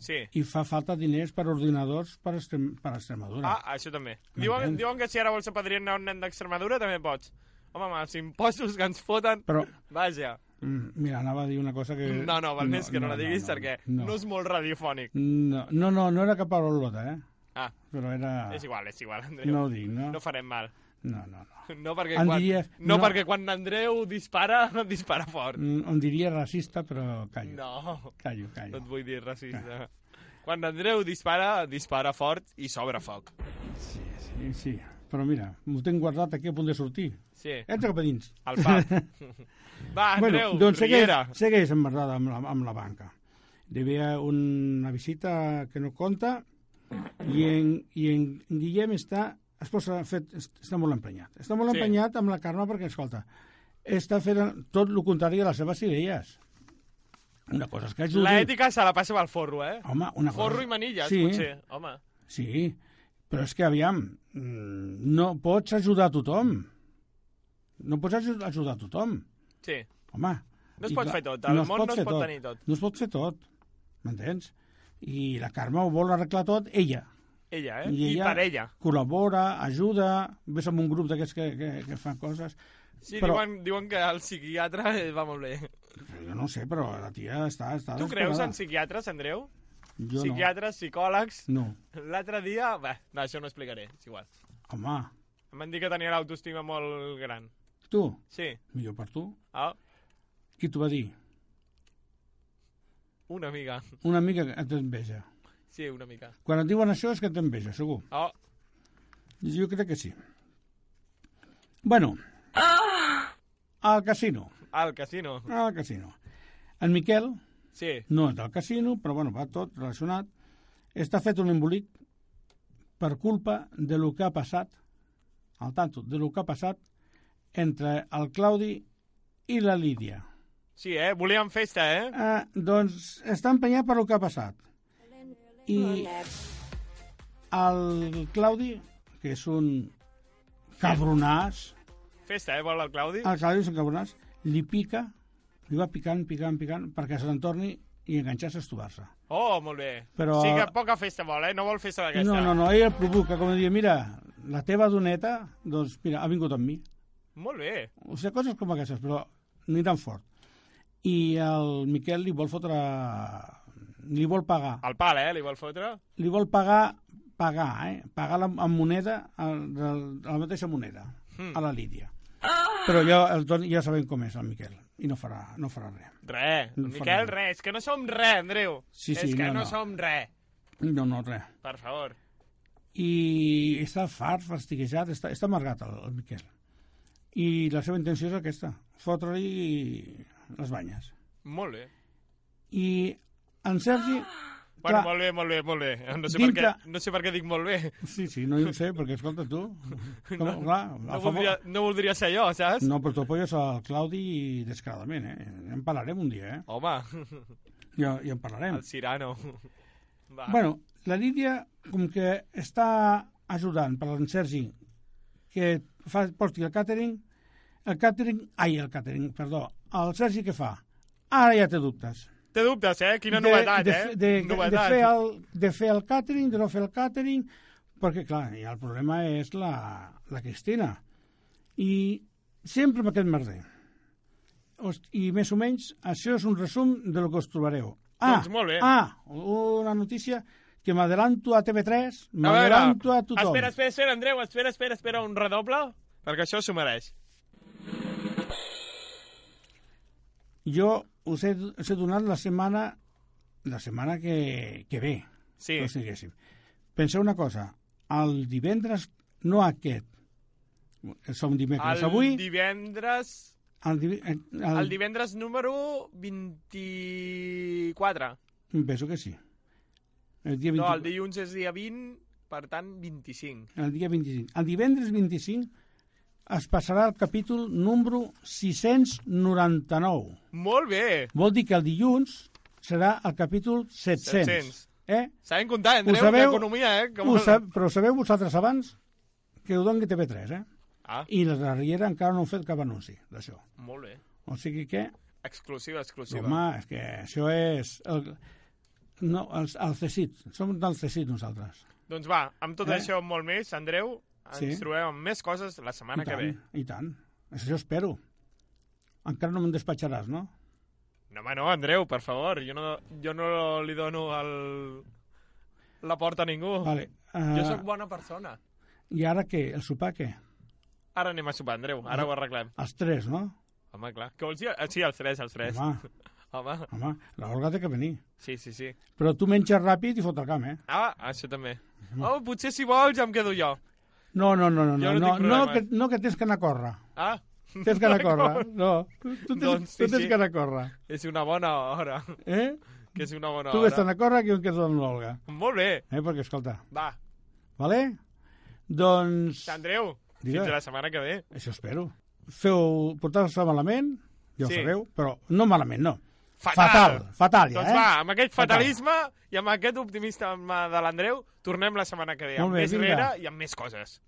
A: Sí.
F: I fa falta diners per ordinadors per, Extrem, per Extremadura.
A: Ah, això també. Diuen, diuen que si ara vols apadrinar un nen d'Extremadura també pots. Home, amb els impostos que ens foten...
F: Però,
A: Vaja.
F: mm, mira, anava a dir una cosa que...
A: No, no, val més que no, la diguis perquè no.
F: No,
A: és molt radiofònic.
F: no, no, no, no era cap parolota, eh?
A: Ah,
F: Però era...
A: és igual, és igual, Andreu.
F: No ho dic, no?
A: no farem mal. [laughs]
F: No, no, no.
A: No perquè,
F: En
A: quan,
F: diries-
A: no,
F: no.
A: perquè quan Andreu dispara, [laughs] dispara fort.
F: Mm, on diria racista, però callo.
A: No, no
F: Callo,
A: et
F: callo.
A: vull dir
F: Ah.
A: racista. Quan Andreu dispara, dispara fort i s'obre foc.
F: Sí, sí, sí. Però mira, m'ho tenc guardat aquí a punt de sortir.
A: Sí,
F: Entra cap a dins.
A: al
F: [laughs]
A: pap. Va, Andreu,
F: doncs segueix,
A: Riera.
F: segueix emmerdada amb la, amb la banca. Hi havia una visita que no compta i en, i en Guillem està, es posa fet, està molt emprenyat. Està molt
A: Sí.
F: emprenyat amb la Carme perquè, escolta, està fent tot el contrari de les seves idees. Una cosa és que ajudi...
A: La ètica se la passa pel forro, eh?
F: Home, una cosa...
A: Forro i manilles,
F: sí,
A: potser. Home,
F: Sí, però és que aviam, mm, no pots ajudar a tothom. No pots aju- ajudar a tothom.
A: sí.
F: Home...
A: No es
F: i
A: pot
F: clar,
A: fer tot, el món
F: pot
A: no es
F: fer
A: pot tenir tot.
F: No es pot fer tot, m'entens? I la Carme ho vol arreglar tot, ella.
A: Ella, eh?
F: I
A: I,
F: ella-
A: per ella.
F: Col·labora, ajuda, ves amb un grup d'aquests que, que, que fan coses.
A: Sí,
F: Però-
A: diuen, diuen que el psiquiatre eh, va molt bé.
F: Però jo no ho sé, però la tia està... està
A: Tu creus en
F: desesperada.
A: psiquiatres, Andreu?
F: Jo
A: Psiquiatres, psicòlegs...
F: no. no.
A: L'altre dia... Bé, no, això no ho explicaré, és igual.
F: Home,
A: Em van dir que tenia l'autoestima molt gran.
F: tu,
A: Sí.
F: millor per tu.
A: Ah,
F: Qui t'ho va dir?
A: una mica.
F: Una amiga que t'enveja.
A: Sí, una mica.
F: Quan et diuen això és que t'enveja, segur.
A: Oh,
F: Jo crec que sí. Bueno, al casino,
A: al casino.
F: al casino. En Miquel,
A: Sí,
F: no és del casino, però bueno, va tot relacionat, està fet un embolic per culpa de lo que ha passat, al tanto, de lo que ha passat entre el Claudi i la Lídia.
A: sí, eh? Volíem festa, eh?
F: Eh, doncs està empenyat per lo que ha passat. I el Claudi, que és un cabronàs,
A: Festa, eh? Vol el Claudi?
F: el Claudi és un cabronàs, li pica, li va picant, picant, picant, perquè se n'entorni i enganxar-se a estovar-se.
A: Oh, molt bé.
F: Però-
A: Sí que poca festa vol, eh? No vol festa d'aquesta.
F: No, no, no, ell el provoca, com dir, mira, la teva doneta, doncs mira, ha vingut amb mi.
A: Molt bé.
F: O sigui, coses com aquestes, però ni tan fort. I el Miquel li vol fotre... li vol pagar.
A: El pal, eh? Li vol fotre?
F: Li vol pagar, pagar, eh? Pagar la, amb moneda, el, del- la mateixa moneda,
A: Hmm.
F: a la Lídia. Però ja, el, Toni- ja sabem com és el Miquel, i no farà, no farà res.
A: Re.
F: No
A: Miquel,
F: fa
A: re. És que no som re, Andreu.
F: Sí, sí,
A: és que
F: no,
A: no,
F: no.
A: som re.
F: No, no, res.
A: Per favor.
F: i està fart, fastiguejat, està, està amargat el, el Miquel. I la seva intenció és aquesta, fotre-li les banyes.
A: Molt bé.
F: I en Sergi...
A: Bueno,
F: clar,
A: molt bé, molt bé, molt bé. No sé,
F: Dintre-
A: per què, no sé per què dic molt bé.
F: Sí, sí, no ho sé, perquè escolta tu... Com, no, clar, a
A: No
F: favor-
A: voldria, no voldria ser jo, saps?
F: No, però tu apoyes al Claudi descaradament, eh? En parlarem un dia, eh?
A: Home, [laughs]
F: Ja, ja en parlarem.
A: el Cirano. Va.
F: Bueno, la Lídia, com que està ajudant per l'en Sergi que fa, porti el càtering, el càtering... Ai, el càtering, perdó. El Sergi què fa? Ara ja té dubtes.
A: Té dubtes, eh? Quina novetat,
F: de,
A: eh?
F: de, de, de,
A: novetat.
F: fer el, de fer el càtering, de no fer el càtering, perquè, clar, i el problema és la, la Cristina. I sempre amb aquest merder. Os- I més o menys, això és un resum de lo que us trobareu.
A: Doncs molt bé.
F: Ah, una notícia que m'adelanto a TV3,
A: A veure,
F: m'adelanto a tothom.
A: Espera, espera, espera, Andreu, espera, espera, espera, un redoble, perquè això s'ho mereix.
F: Jo us he, us he donat la setmana la setmana que, que ve.
A: Sí,
F: doncs diguéssim. Penseu una cosa, el divendres, no aquest, som dimecres
A: el
F: el avui,
A: divendres...
F: el, div el,
A: El
F: el,
A: divendres número 24.
F: penso que sí, el dia, 20,
A: No, el dilluns és dia 20, per tant, 25.
F: el dia 25. El divendres 25 es passarà el capítol número 699.
A: Molt bé!
F: Vol dir que el dilluns serà el capítol 700.
A: 700.
F: Eh?
A: Sabem comptar, Andreu,
F: sabeu?
A: d'economia, eh?
F: Ho sab però ho sabeu vosaltres abans que ho doni TV3, eh?
A: Ah,
F: I la darrere encara no han fet cap anunci d'això.
A: molt bé.
F: O sigui que
A: Exclusiva,
F: Sí,
A: exclusiva.
F: Home, és que això és... El, no, els, el CECIT. Som del CECIT nosaltres.
A: Doncs va, amb tot
F: Eh?
A: eh? això i molt més, Andreu, ens
F: Sí.
A: trobem amb més coses la setmana
F: I
A: que
F: tant,
A: ve.
F: I tant. Això espero. Encara no me'n despatxaràs, no?
A: No, home, no, Andreu, per favor, jo no, jo no li dono el... la porta a ningú.
F: Vale. Uh,
A: Jo sóc bona persona.
F: I ara què? El sopar què?
A: Ara anem a sopar, Andreu, ara ho arreglem.
F: Els tres, no?
A: Home, clar. Què vols dir? Ah, Sí, els tres, els tres.
F: Home,
A: Home,
F: home, l'Olga té que venir.
A: sí, sí, sí.
F: Però tu menges ràpid i fot el camp, eh?
A: Ah, això també. Oh, potser si vols ja em quedo jo.
F: No, no, no, no,
A: Jo no
F: no, no,
A: tinc
F: no,
A: problemes.
F: que, no que tens que anar a córrer.
A: Ah,
F: Tens que anar
A: [laughs]
F: a córrer, eh? no. Tu, tu tens,
A: Doncs sí,
F: tu tens
A: sí.
F: que anar a córrer,
A: és una bona hora.
F: eh?
A: Que és una bona
F: tu vés
A: hora.
F: a córrer que jo em quedo amb l'Olga,
A: Molt bé.
F: eh? Perquè, escolta,
A: Va,
F: vale? Doncs...
A: Andreu,
F: Digues.
A: fins a la setmana que ve.
F: Això espero. Feu portar-se malament, ja ho
A: Sí.
F: sabeu, però no malament, no.
A: Fatal.
F: fatal, fatal ja,
A: Doncs
F: eh?
A: va, amb aquest
F: Fatal.
A: fatalisme i amb aquest optimisme de l'Andreu, tornem la setmana que ve,
F: Molt
A: amb
F: bé,
A: més
F: vinga.
A: rere i amb més coses.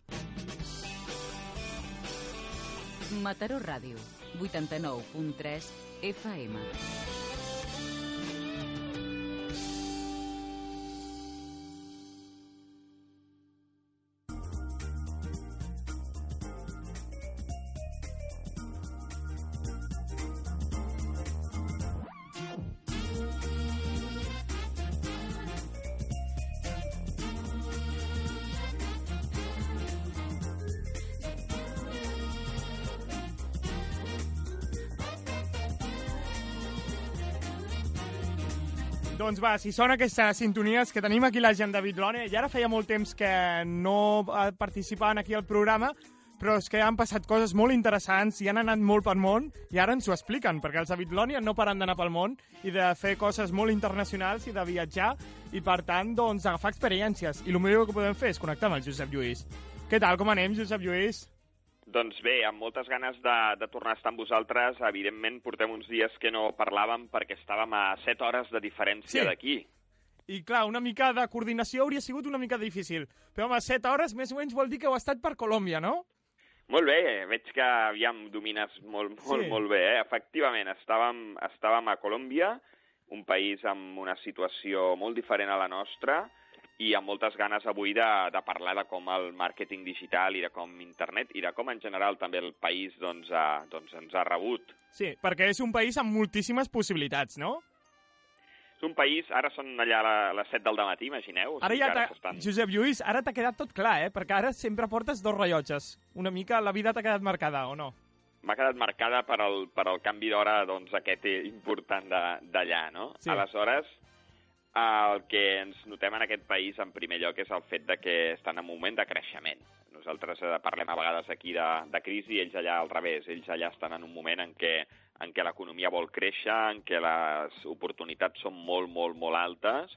C: Mataró Ràdio, 89.3 FM.
A: Doncs va, si són aquestes sintonies que tenim aquí la gent de Bitlònia, i ara feia molt temps que no eh, participaven aquí al programa, però és que han passat coses molt interessants i han anat molt pel món i ara ens ho expliquen, perquè els de Bitlònia no paren d'anar pel món i de fer coses molt internacionals i de viatjar i, per tant, doncs, agafar experiències. I el millor que podem fer és connectar amb el Josep Lluís. Què tal, com anem, Josep Lluís?
H: Doncs bé, amb moltes ganes de, de tornar a estar amb vosaltres. Evidentment, portem uns dies que no parlàvem perquè estàvem a 7 hores de diferència
A: Sí.
H: d'aquí.
A: I clar, una mica de coordinació hauria sigut una mica difícil. Però home, 7 hores més o menys vol dir que heu estat per Colòmbia, no?
H: Molt bé, veig que aviam domines molt, molt,
A: Sí.
H: sí. molt bé. Eh? Efectivament, estàvem, estàvem a Colòmbia, un país amb una situació molt diferent a la nostra i amb moltes ganes avui de, de parlar de com el màrqueting digital i de com internet i de com en general també el país doncs, ha, doncs ens ha rebut.
A: Sí, perquè és un país amb moltíssimes possibilitats, no?
H: És un país, ara són allà a les 7 del matí, imagineu. o
A: Ara
H: sigui
A: ja
H: que
A: t'ha...
H: s'estan-
A: Josep Lluís, ara t'ha quedat tot clar, eh? Perquè ara sempre portes dos rellotges. Una mica la vida t'ha quedat marcada, o no?
H: M'ha quedat marcada per al, per al canvi d'hora doncs, aquest eh, important de- d'allà, no?
A: Sí.
H: Aleshores, el que ens notem en aquest país, en primer lloc, és el fet de que estan en un moment de creixement. Nosaltres eh, parlem a vegades aquí de, de crisi, ells allà al revés. Ells allà estan en un moment en què, en què l'economia vol créixer, en què les oportunitats són molt, molt, molt altes,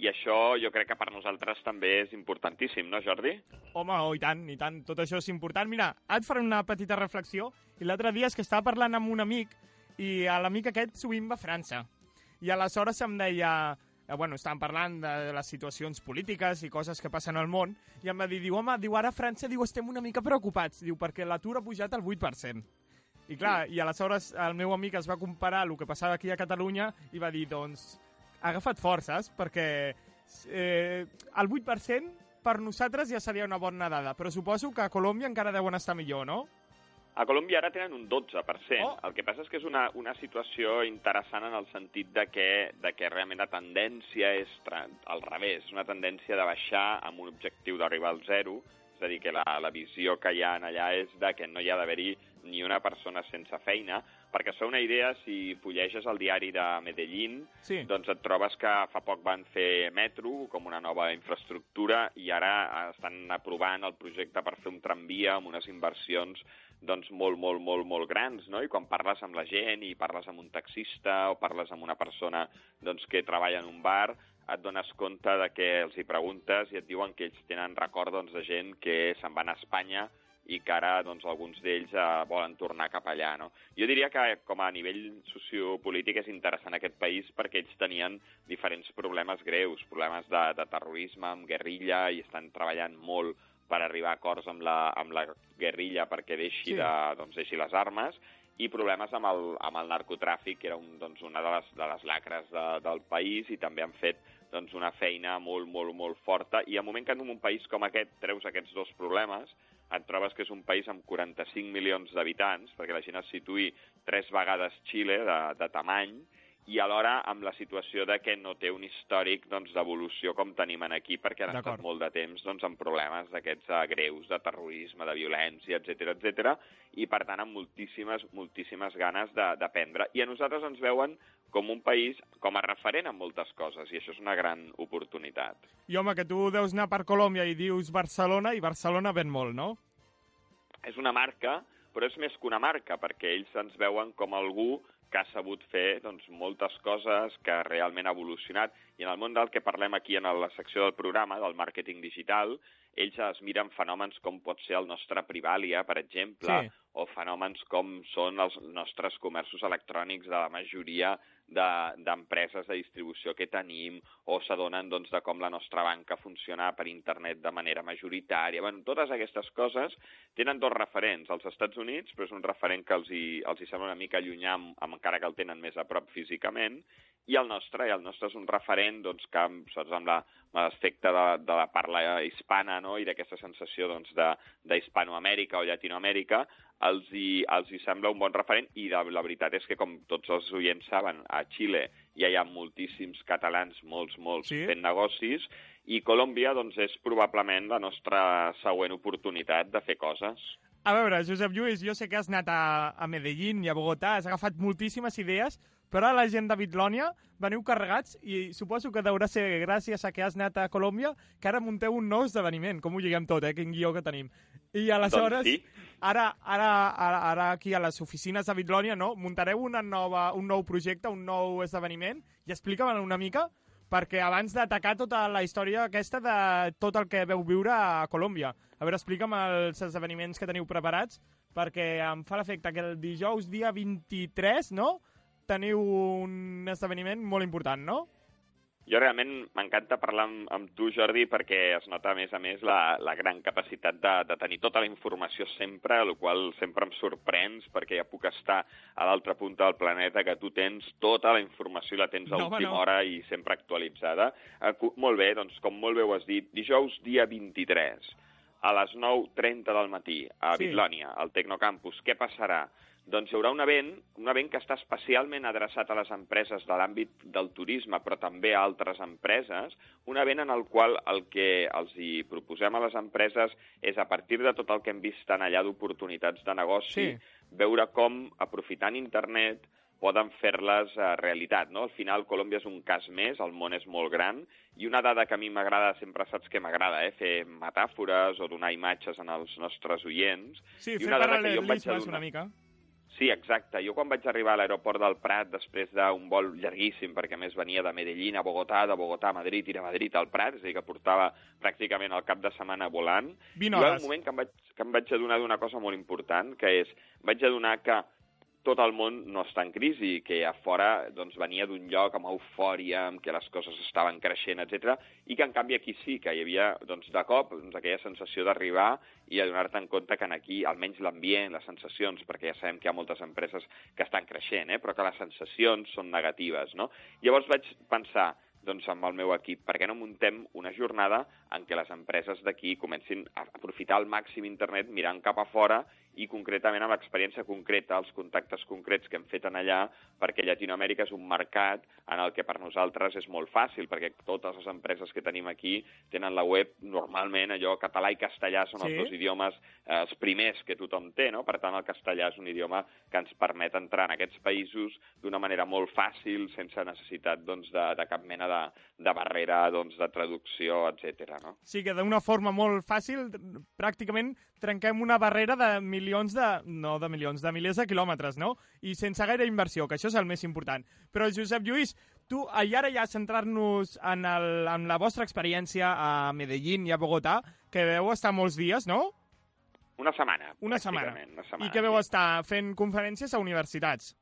H: i això jo crec que per nosaltres també és importantíssim, no, Jordi?
A: Home, oh, i tant, i tant, tot això és important. Mira, et faré una petita reflexió. I l'altre dia és que estava parlant amb un amic i a l'amic aquest sovint va a França. I aleshores em deia... Eh, bueno, estàvem parlant de les situacions polítiques i coses que passen al món, i em va dir, diu, home, diu, ara a França diu, estem una mica preocupats, diu, perquè l'atur ha pujat al 8%. I clar, i aleshores el meu amic es va comparar el que passava aquí a Catalunya i va dir, doncs, ha agafat forces perquè eh, el 8% per nosaltres ja seria una bona dada, però suposo que a Colòmbia encara deuen estar millor, no?
H: A Colòmbia ara tenen un 12%.
A: Oh.
H: El que passa és que és una, una situació interessant en el sentit de que, de que realment la tendència és tra- al revés, una tendència de baixar amb un objectiu d'arribar al zero, és a dir, que la, la visió que hi ha en allà és de que no hi ha d'haver-hi ni una persona sense feina, perquè es fa una idea, si fulleges el diari de Medellín,
A: Sí.
H: doncs et trobes que fa poc van fer metro com una nova infraestructura i ara estan aprovant el projecte per fer un tramvia amb unes inversions doncs molt, molt, molt, molt grans, no? I quan parles amb la gent i parles amb un taxista o parles amb una persona doncs, que treballa en un bar, et dones compte de que els hi preguntes i et diuen que ells tenen record doncs, de gent que se'n van a Espanya i que ara doncs, alguns d'ells eh, volen tornar cap allà. No? Jo diria que com a nivell sociopolític és interessant aquest país perquè ells tenien diferents problemes greus, problemes de, de terrorisme, amb guerrilla, i estan treballant molt per arribar a acords amb la, amb la guerrilla perquè
A: Sí.
H: deixi, sí. de, doncs, deixi les armes, i problemes amb el, amb el narcotràfic, que era un, doncs, una de les, de les lacres de, del país, i també han fet doncs, una feina molt, molt, molt forta. I al moment que en un país com aquest treus aquests dos problemes, et trobes que és un país amb 45 milions d'habitants, perquè la gent es situï tres vegades Xile de, de tamany, i alhora amb la situació de que no té un històric doncs, d'evolució com tenim en aquí, perquè han
A: D'acord.
H: estat molt de temps doncs, amb problemes d'aquests eh, greus, de terrorisme, de violència, etc etc i per tant amb moltíssimes, moltíssimes ganes de- d'aprendre. I a nosaltres ens veuen com un país, com a referent en moltes coses, i això és una gran oportunitat.
A: I home, que tu deus anar per Colòmbia i dius Barcelona, i Barcelona ven molt, no?
H: és una marca, però és més que una marca, perquè ells ens veuen com algú que ha sabut fer doncs, moltes coses, que realment ha evolucionat. I en el món del que parlem aquí en la secció del programa, del màrqueting digital, ells es miren fenòmens com pot ser el nostre Privalia, per exemple,
A: Sí.
H: o fenòmens com són els nostres comerços electrònics de la majoria de- d'empreses de, de distribució que tenim, o s'adonen doncs, de com la nostra banca funciona per internet de manera majoritària. Bueno, totes aquestes coses tenen dos referents, als Estats Units, però és un referent que els hi, els hi sembla una mica llunyà, amb- amb- encara que el tenen més a prop físicament, i el nostre, i el nostre és un referent doncs, que, amb- saps, amb la- amb l'aspecte de, de la parla hispana no? i d'aquesta sensació doncs, de- d'Hispanoamèrica o Llatinoamèrica, els hi, els hi sembla un bon referent i la, la veritat és que, com tots els oients saben, a Xile ja hi ha moltíssims catalans, molts, molts,
A: Sí.
H: sí. fent negocis, i Colòmbia doncs, és probablement la nostra següent oportunitat de fer coses.
A: A veure, Josep Lluís, jo sé que has anat a, a Medellín i a Bogotà, has agafat moltíssimes idees, però a la gent de Bitlònia veniu carregats i suposo que deurà ser gràcies a que has anat a Colòmbia que ara munteu un nou esdeveniment, com ho lliguem tot, eh? Quin guió que tenim. I aleshores,
H: Doncs sí.
A: ara, ara, ara, ara aquí a les oficines de Bitlònia, no? Muntareu una nova, un nou projecte, un nou esdeveniment i explica'm una mica perquè abans d'atacar tota la història aquesta de tot el que veu viure a Colòmbia. A veure, explica'm els esdeveniments que teniu preparats, perquè em fa l'efecte que el dijous, dia 23, no?, teniu un esdeveniment molt important, no?
H: Jo realment m'encanta parlar amb, amb tu, Jordi, perquè es nota, a més a més, la, la gran capacitat de, de tenir tota la informació sempre, el qual sempre em sorprens, perquè ja puc estar a l'altra punta del planeta, que tu tens tota la informació i la tens a
A: No, home,
H: última
A: no.
H: hora i sempre actualitzada. Eh, cu- Molt bé, doncs, com molt bé ho has dit, dijous, dia 23, a les 9.30 del matí, a
A: Sí.
H: sí. Bitlònia, al Tecnocampus. Què passarà? Doncs hi haurà un event, un event que està especialment adreçat a les empreses de l'àmbit del turisme, però també a altres empreses, un event en el qual el que els hi proposem a les empreses és, a partir de tot el que hem vist en allà d'oportunitats de negoci,
A: Sí.
H: veure com, aprofitant internet, poden fer-les eh, realitat. No? Al final, Colòmbia és un cas més, el món és molt gran, i una dada que a mi m'agrada, sempre saps que m'agrada, eh? fer metàfores o donar imatges en els nostres oients.
A: Sí,
H: I
A: fer
H: una dada que jo em vaig
A: paral·lelismes
H: adonar-
A: una mica.
H: Sí, exacte. Jo quan vaig arribar a l'aeroport del Prat, després d'un vol llarguíssim, perquè a més venia de Medellín a Bogotà, de Bogotà a Madrid i de Madrid al Prat, és a dir, que portava pràcticament el cap de setmana volant,
A: 20
H: hi va
A: hores.
H: un moment que em vaig, que em vaig adonar d'una cosa molt important, que és, vaig adonar que tot el món no està en crisi, que a fora doncs, venia d'un lloc amb eufòria, amb que les coses estaven creixent, etc i que en canvi aquí sí, que hi havia doncs, de cop doncs, aquella sensació d'arribar i adonar-te en compte que en aquí almenys l'ambient, les sensacions, perquè ja sabem que hi ha moltes empreses que estan creixent, eh? però que les sensacions són negatives. No? Llavors vaig pensar, doncs amb el meu equip, per què no muntem una jornada en què les empreses d'aquí comencin a aprofitar al màxim internet mirant cap a fora i concretament amb l'experiència concreta, els contactes concrets que hem fet en allà, perquè Llatinoamèrica és un mercat en el que per nosaltres és molt fàcil, perquè totes les empreses que tenim aquí tenen la web normalment allò català i castellà són
A: Sí.
H: els dos idiomes eh, els primers que tothom té, no? Per tant, el castellà és un idioma que ens permet entrar en aquests països d'una manera molt fàcil, sense necessitat doncs, de, de cap mena de, de barrera doncs, de traducció, etc. no?
A: Sí, que d'una forma molt fàcil, pràcticament trenquem una barrera de milions de... No, de milions, de milers de quilòmetres, no? I sense gaire inversió, que això és el més important. Però, Josep Lluís, tu, eh, i ara ja centrar-nos en, el, en la vostra experiència a Medellín i a Bogotà, que veu estar molts dies, no?
H: Una setmana.
A: Una
H: pràcticament,
A: setmana.
H: Una setmana
A: I que veu
H: sí.
A: estar fent conferències a universitats.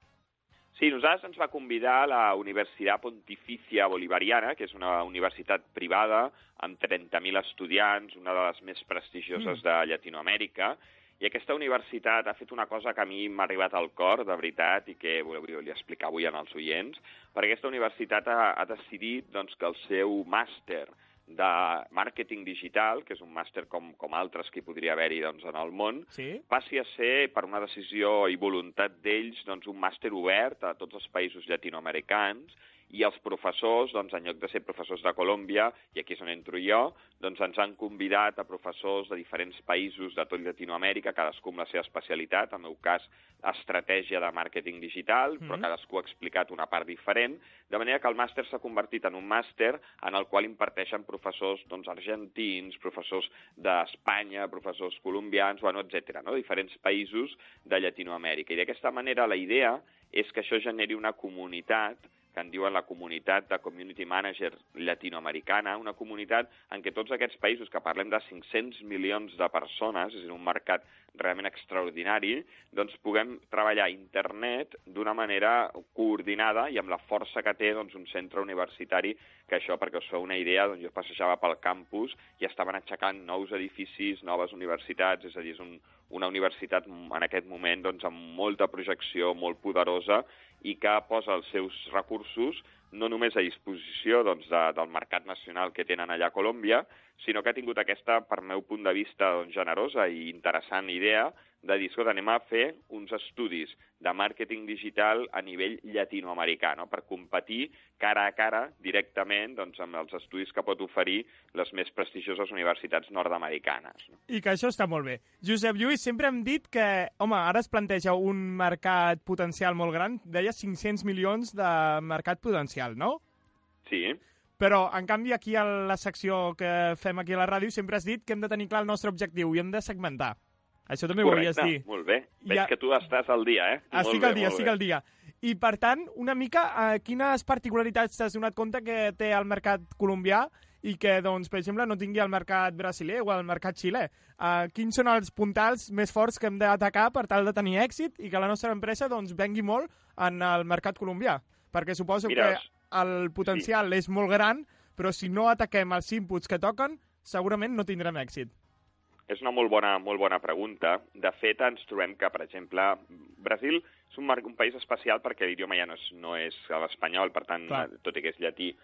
H: Sí, nosaltres ens va convidar a la Universitat Pontificia Bolivariana, que és una universitat privada amb 30.000 estudiants, una de les més prestigioses de Llatinoamèrica, i aquesta universitat ha fet una cosa que a mi m'ha arribat al cor, de veritat, i que volia explicar avui als oients, perquè aquesta universitat ha, ha decidit doncs, que el seu màster de màrqueting digital, que és un màster com, com altres que hi podria haver-hi doncs, en el món,
A: Sí?
H: passi a ser, per una decisió i voluntat d'ells, doncs, un màster obert a tots els països llatinoamericans i els professors, doncs, en lloc de ser professors de Colòmbia, i aquí és on entro jo, doncs ens han convidat a professors de diferents països de tot Llatinoamèrica, cadascú amb la seva especialitat, en el meu cas, estratègia de màrqueting digital, però
A: Mhm.
H: cadascú ha explicat una part diferent, de manera que el màster s'ha convertit en un màster en el qual imparteixen professors doncs, argentins, professors d'Espanya, professors colombians, bueno, etc. no? diferents països de Llatinoamèrica. I d'aquesta manera la idea és que això generi una comunitat que en diuen la comunitat de community manager llatinoamericana, una comunitat en què tots aquests països, que parlem de 500 milions de persones, és a dir, un mercat realment extraordinari, doncs puguem treballar internet d'una manera coordinada i amb la força que té doncs, un centre universitari, que això, perquè us feu una idea, doncs, jo passejava pel campus i estaven aixecant nous edificis, noves universitats, és a dir, és un, una universitat mm, en aquest moment doncs, amb molta projecció, molt poderosa, i que posa els seus recursos no només a disposició doncs, de, del mercat nacional que tenen allà a Colòmbia, sinó que ha tingut aquesta, per meu punt de vista, doncs, generosa i interessant idea de dir, escolta, anem a fer uns estudis de màrqueting digital a nivell llatinoamericà, no? per competir cara a cara directament doncs, amb els estudis que pot oferir les més prestigioses universitats nord-americanes. No?
A: I que això està molt bé. Josep Lluís, sempre hem dit que, home, ara es planteja un mercat potencial molt gran, deia 500 milions de mercat potencial, no?
H: Sí.
A: Però, en canvi, aquí a la secció que fem aquí a la ràdio sempre has dit que hem de tenir clar el nostre objectiu i hem de segmentar. Això també ho havies dit.
H: molt bé.
A: I
H: Veig
A: a-
H: que tu estàs al dia, eh?
A: Estic
H: Molt bé,
A: al dia,
H: molt
A: estic
H: bé.
A: al dia. I, per tant, una mica, eh, quines particularitats t'has donat compte que té el mercat colombià i que, doncs, per exemple, no tingui el mercat brasiler o el mercat xilè? Eh, quins són els puntals més forts que hem d'atacar per tal de tenir èxit i que la nostra empresa, doncs, vengui molt en el mercat colombià? Perquè suposo
H: Mira, és-
A: que el potencial és molt gran, però si no ataquem els inputs que toquen, segurament no tindrem èxit.
H: És una molt bona, molt bona pregunta. De fet, ens trobem que, per exemple, Brasil és un, mar- un país especial perquè l'idioma ja no és, no és l'espanyol, per tant,
A: Clar.
H: tot i que és llatí,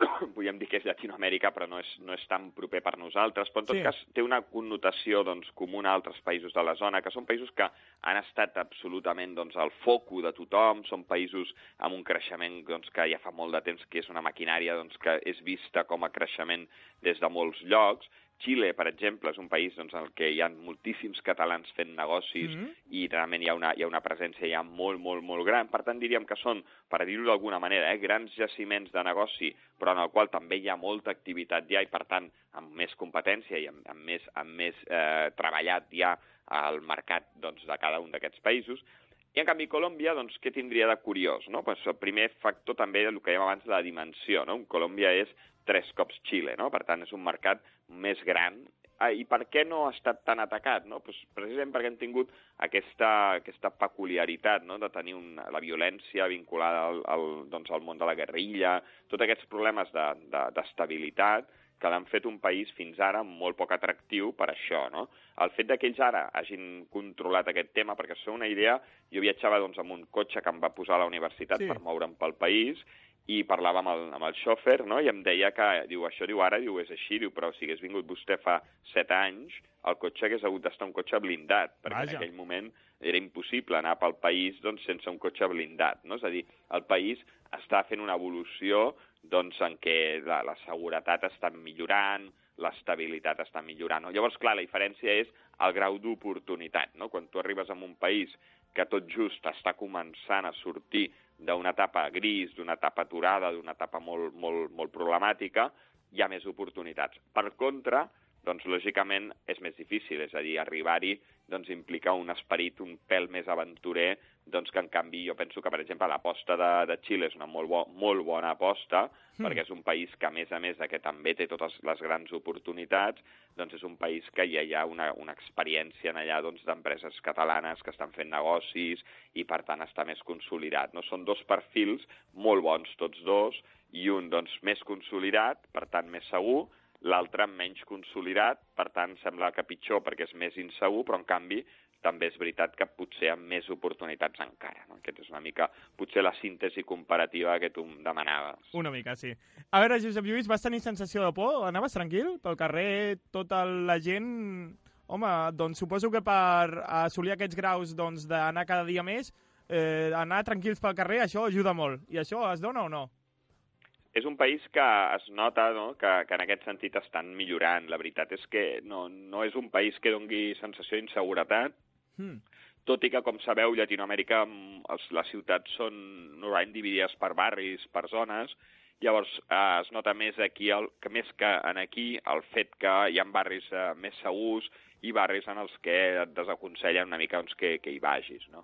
H: [coughs] podríem dir que és Llatinoamèrica, però no és, no és tan proper per nosaltres. Però, en tot
A: Sí.
H: sí. cas, té una connotació doncs, comuna a altres països de la zona, que són països que han estat absolutament doncs, al foco de tothom, són països amb un creixement doncs, que ja fa molt de temps que és una maquinària doncs, que és vista com a creixement des de molts llocs, Xile, per exemple, és un país doncs, en el que hi ha moltíssims catalans fent negocis mm
A: Mhm.
H: -hmm. i realment hi ha, una, hi ha una presència ja molt, molt, molt gran. Per tant, diríem que són, per dir-ho d'alguna manera, eh, grans jaciments de negoci, però en el qual també hi ha molta activitat ja i, per tant, amb més competència i amb, amb més, amb més eh, treballat ja al mercat doncs, de cada un d'aquests països. I, en canvi, Colòmbia, doncs, què tindria de curiós? No? Pues el primer factor també el que dèiem abans, la dimensió. No? Colòmbia és tres cops Xile, no? per tant, és un mercat més gran. Ah, I per què no ha estat tan atacat? No? Pues precisament perquè hem tingut aquesta, aquesta peculiaritat no? de tenir una, la violència vinculada al, al, doncs, al món de la guerrilla, tots aquests problemes de- de- d'estabilitat de, que l'han fet un país fins ara molt poc atractiu per això, no? El fet de que ells ara hagin controlat aquest tema, perquè és una idea, jo viatjava doncs, amb un cotxe que em va posar a la universitat
A: Sí.
H: sí. per moure'm pel país i parlava amb el, amb el xòfer no? i em deia que, diu, això diu ara, diu, és així, diu, però si hagués vingut vostè fa set anys, el cotxe hagués hagut d'estar un cotxe blindat, perquè
A: Vaja.
H: en aquell moment era impossible anar pel país doncs, sense un cotxe blindat. No? És a dir, el país està fent una evolució doncs, en què la, la seguretat està millorant, l'estabilitat està millorant. No? Llavors, clar, la diferència és el grau d'oportunitat. No? Quan tu arribes a un país que tot just està començant a sortir d'una etapa gris, d'una etapa aturada, d'una etapa molt, molt, molt problemàtica, hi ha més oportunitats. Per contra, doncs, lògicament, és més difícil, és a dir, arribar-hi doncs, implica un esperit un pèl més aventurer, doncs, que en canvi jo penso que, per exemple, l'aposta de, de Xile és una molt, bo, molt bona aposta, mm. perquè és un país que, a més a més, de que també té totes les grans oportunitats, doncs és un país que ja hi ha una, una experiència en allà doncs, d'empreses catalanes que estan fent negocis i, per tant, està més consolidat. No? Són dos perfils molt bons tots dos, i un doncs, més consolidat, per tant, més segur, l'altre menys consolidat, per tant, sembla que pitjor perquè és més insegur, però en canvi també és veritat que potser amb més oportunitats encara. No? Aquest és una mica potser la síntesi comparativa que tu em demanaves.
A: Una mica, sí. A veure, Josep Lluís, vas tenir sensació de por? Anaves tranquil pel carrer, tota la gent... Home, doncs suposo que per assolir aquests graus doncs, d'anar cada dia més, eh, anar tranquils pel carrer, això ajuda molt. I això es dona o no?
H: és un país que es nota no? que, que en aquest sentit estan millorant. La veritat és que no, no és un país que dongui sensació d'inseguretat,
A: Hmm.
H: tot i que, com sabeu, Llatinoamèrica, mm, els, les ciutats són normalment dividides per barris, per zones, llavors eh, es nota més aquí, el, que més que en aquí, el fet que hi ha barris eh, més segurs i barris en els que et desaconsellen una mica doncs, que, que hi vagis, no?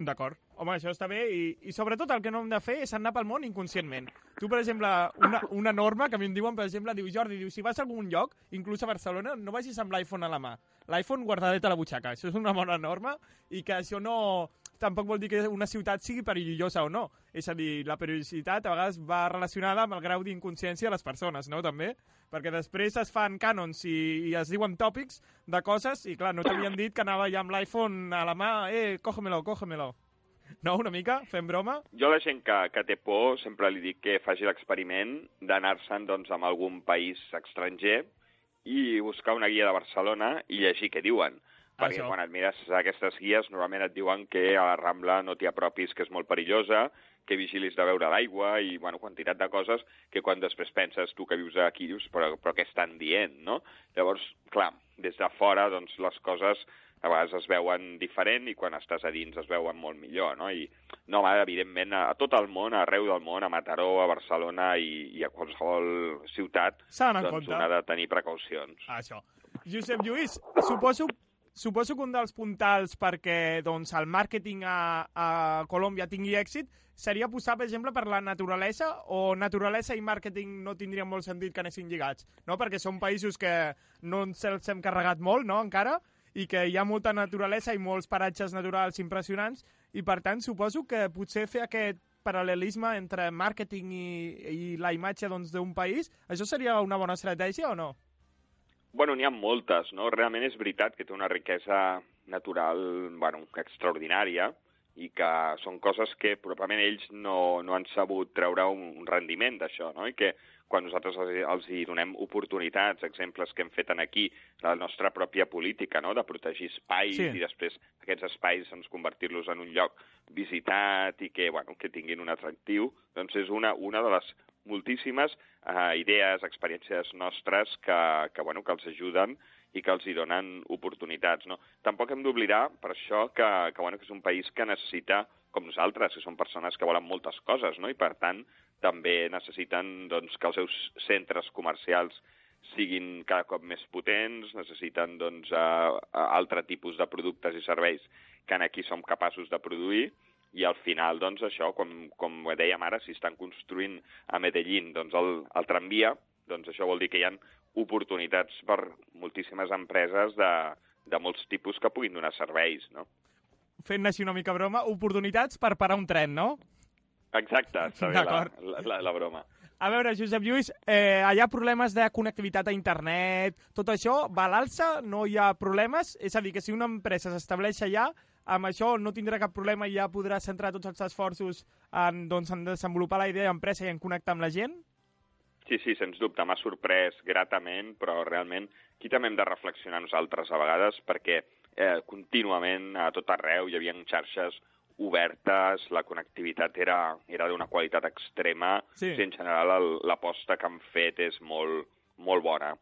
A: D'acord. Home, això està bé i, i sobretot el que no hem de fer és anar pel món inconscientment. Tu, per exemple, una, una norma que a mi em diuen, per exemple, diu Jordi, diu, si vas a algun lloc, inclús a Barcelona, no vagis amb l'iPhone a la mà. L'iPhone guardadet a la butxaca. Això és una bona norma i que això no... Tampoc vol dir que una ciutat sigui perillosa o no. És a dir, la perillositat a vegades va relacionada amb el grau d'inconsciència de les persones, no?, també? Perquè després es fan cànons i, i es diuen tòpics de coses i, clar, no t'havien dit que anava ja amb l'iPhone a la mà, eh, cógemelo, cógemelo. No, una mica? Fem broma?
H: Jo a la gent que, que té por sempre li dic que faci l'experiment d'anar-se'n doncs, a algun país estranger i buscar una guia de Barcelona i llegir què diuen. Perquè
A: Ah, Això.
H: quan et mires aquestes guies normalment et diuen que a la Rambla no t'hi apropis, que és molt perillosa, que vigilis de beure l'aigua i, bueno, quantitat de coses que quan després penses tu que vius aquí dius, però, però què estan dient, no? Llavors, clar, des de fora, doncs, les coses a vegades es veuen diferent i quan estàs a dins es veuen molt millor, no? I, no, home, evidentment, a, a tot el món, arreu del món, a Mataró, a Barcelona i, i a qualsevol ciutat,
A: S'ha d'anar en
H: doncs
A: compte.
H: una ha de tenir precaucions.
A: Això. Josep Lluís, suposo, suposo que un dels puntals perquè doncs, el màrqueting a, a Colòmbia tingui èxit seria posar, per exemple, per la naturalesa o naturalesa i màrqueting no tindria molt sentit que anessin lligats, no? Perquè són països que no ens els hem carregat molt, no?, encara, i que hi ha molta naturalesa i molts paratges naturals impressionants i, per tant, suposo que potser fer aquest paral·lelisme entre màrqueting i, i la imatge doncs, d'un país, això seria una bona estratègia o no?
H: Bueno, n'hi ha moltes, no? Realment és veritat que té una riquesa natural, bueno, extraordinària, i que són coses que probablement ells no, no han sabut treure un, un rendiment d'això, no? I que quan nosaltres els, els hi donem oportunitats, exemples que hem fet en aquí, la nostra pròpia política, no?, de protegir espais
A: Sí.
H: sí. i després aquests espais doncs, convertir-los en un lloc visitat i que, bueno, que tinguin un atractiu, doncs és una, una de les moltíssimes eh, idees, experiències nostres que, que, bueno, que els ajuden i que els hi donen oportunitats. No? Tampoc hem d'oblidar, per això, que, que, bueno, que és un país que necessita, com nosaltres, que són persones que volen moltes coses, no? i per tant també necessiten doncs, que els seus centres comercials siguin cada cop més potents, necessiten doncs, uh, altre tipus de productes i serveis que en aquí som capaços de produir i al final, doncs, això, com, com ho dèiem ara, si estan construint a Medellín doncs, el, el tramvia, doncs això vol dir que hi ha oportunitats per moltíssimes empreses de, de molts tipus que puguin donar serveis, no?
A: Fent així una mica broma, oportunitats per parar un tren, no?
H: Exacte, està bé la,
A: D'acord.
H: la, la, la broma.
A: A veure, Josep Lluís, eh, hi ha problemes de connectivitat a internet, tot això va a l'alça, no hi ha problemes? És a dir, que si una empresa s'estableix allà, amb això no tindrà cap problema i ja podrà centrar tots els esforços en, doncs, en desenvolupar la idea d'empresa i en connectar amb la gent?
H: Sí, sí, sens dubte, m'ha sorprès gratament, però realment aquí també hem de reflexionar nosaltres a vegades perquè eh, contínuament a tot arreu hi havia xarxes obertes, la connectivitat era, era d'una qualitat extrema,
A: Sí.
H: sí en general el- l'aposta que han fet és molt, molt bona.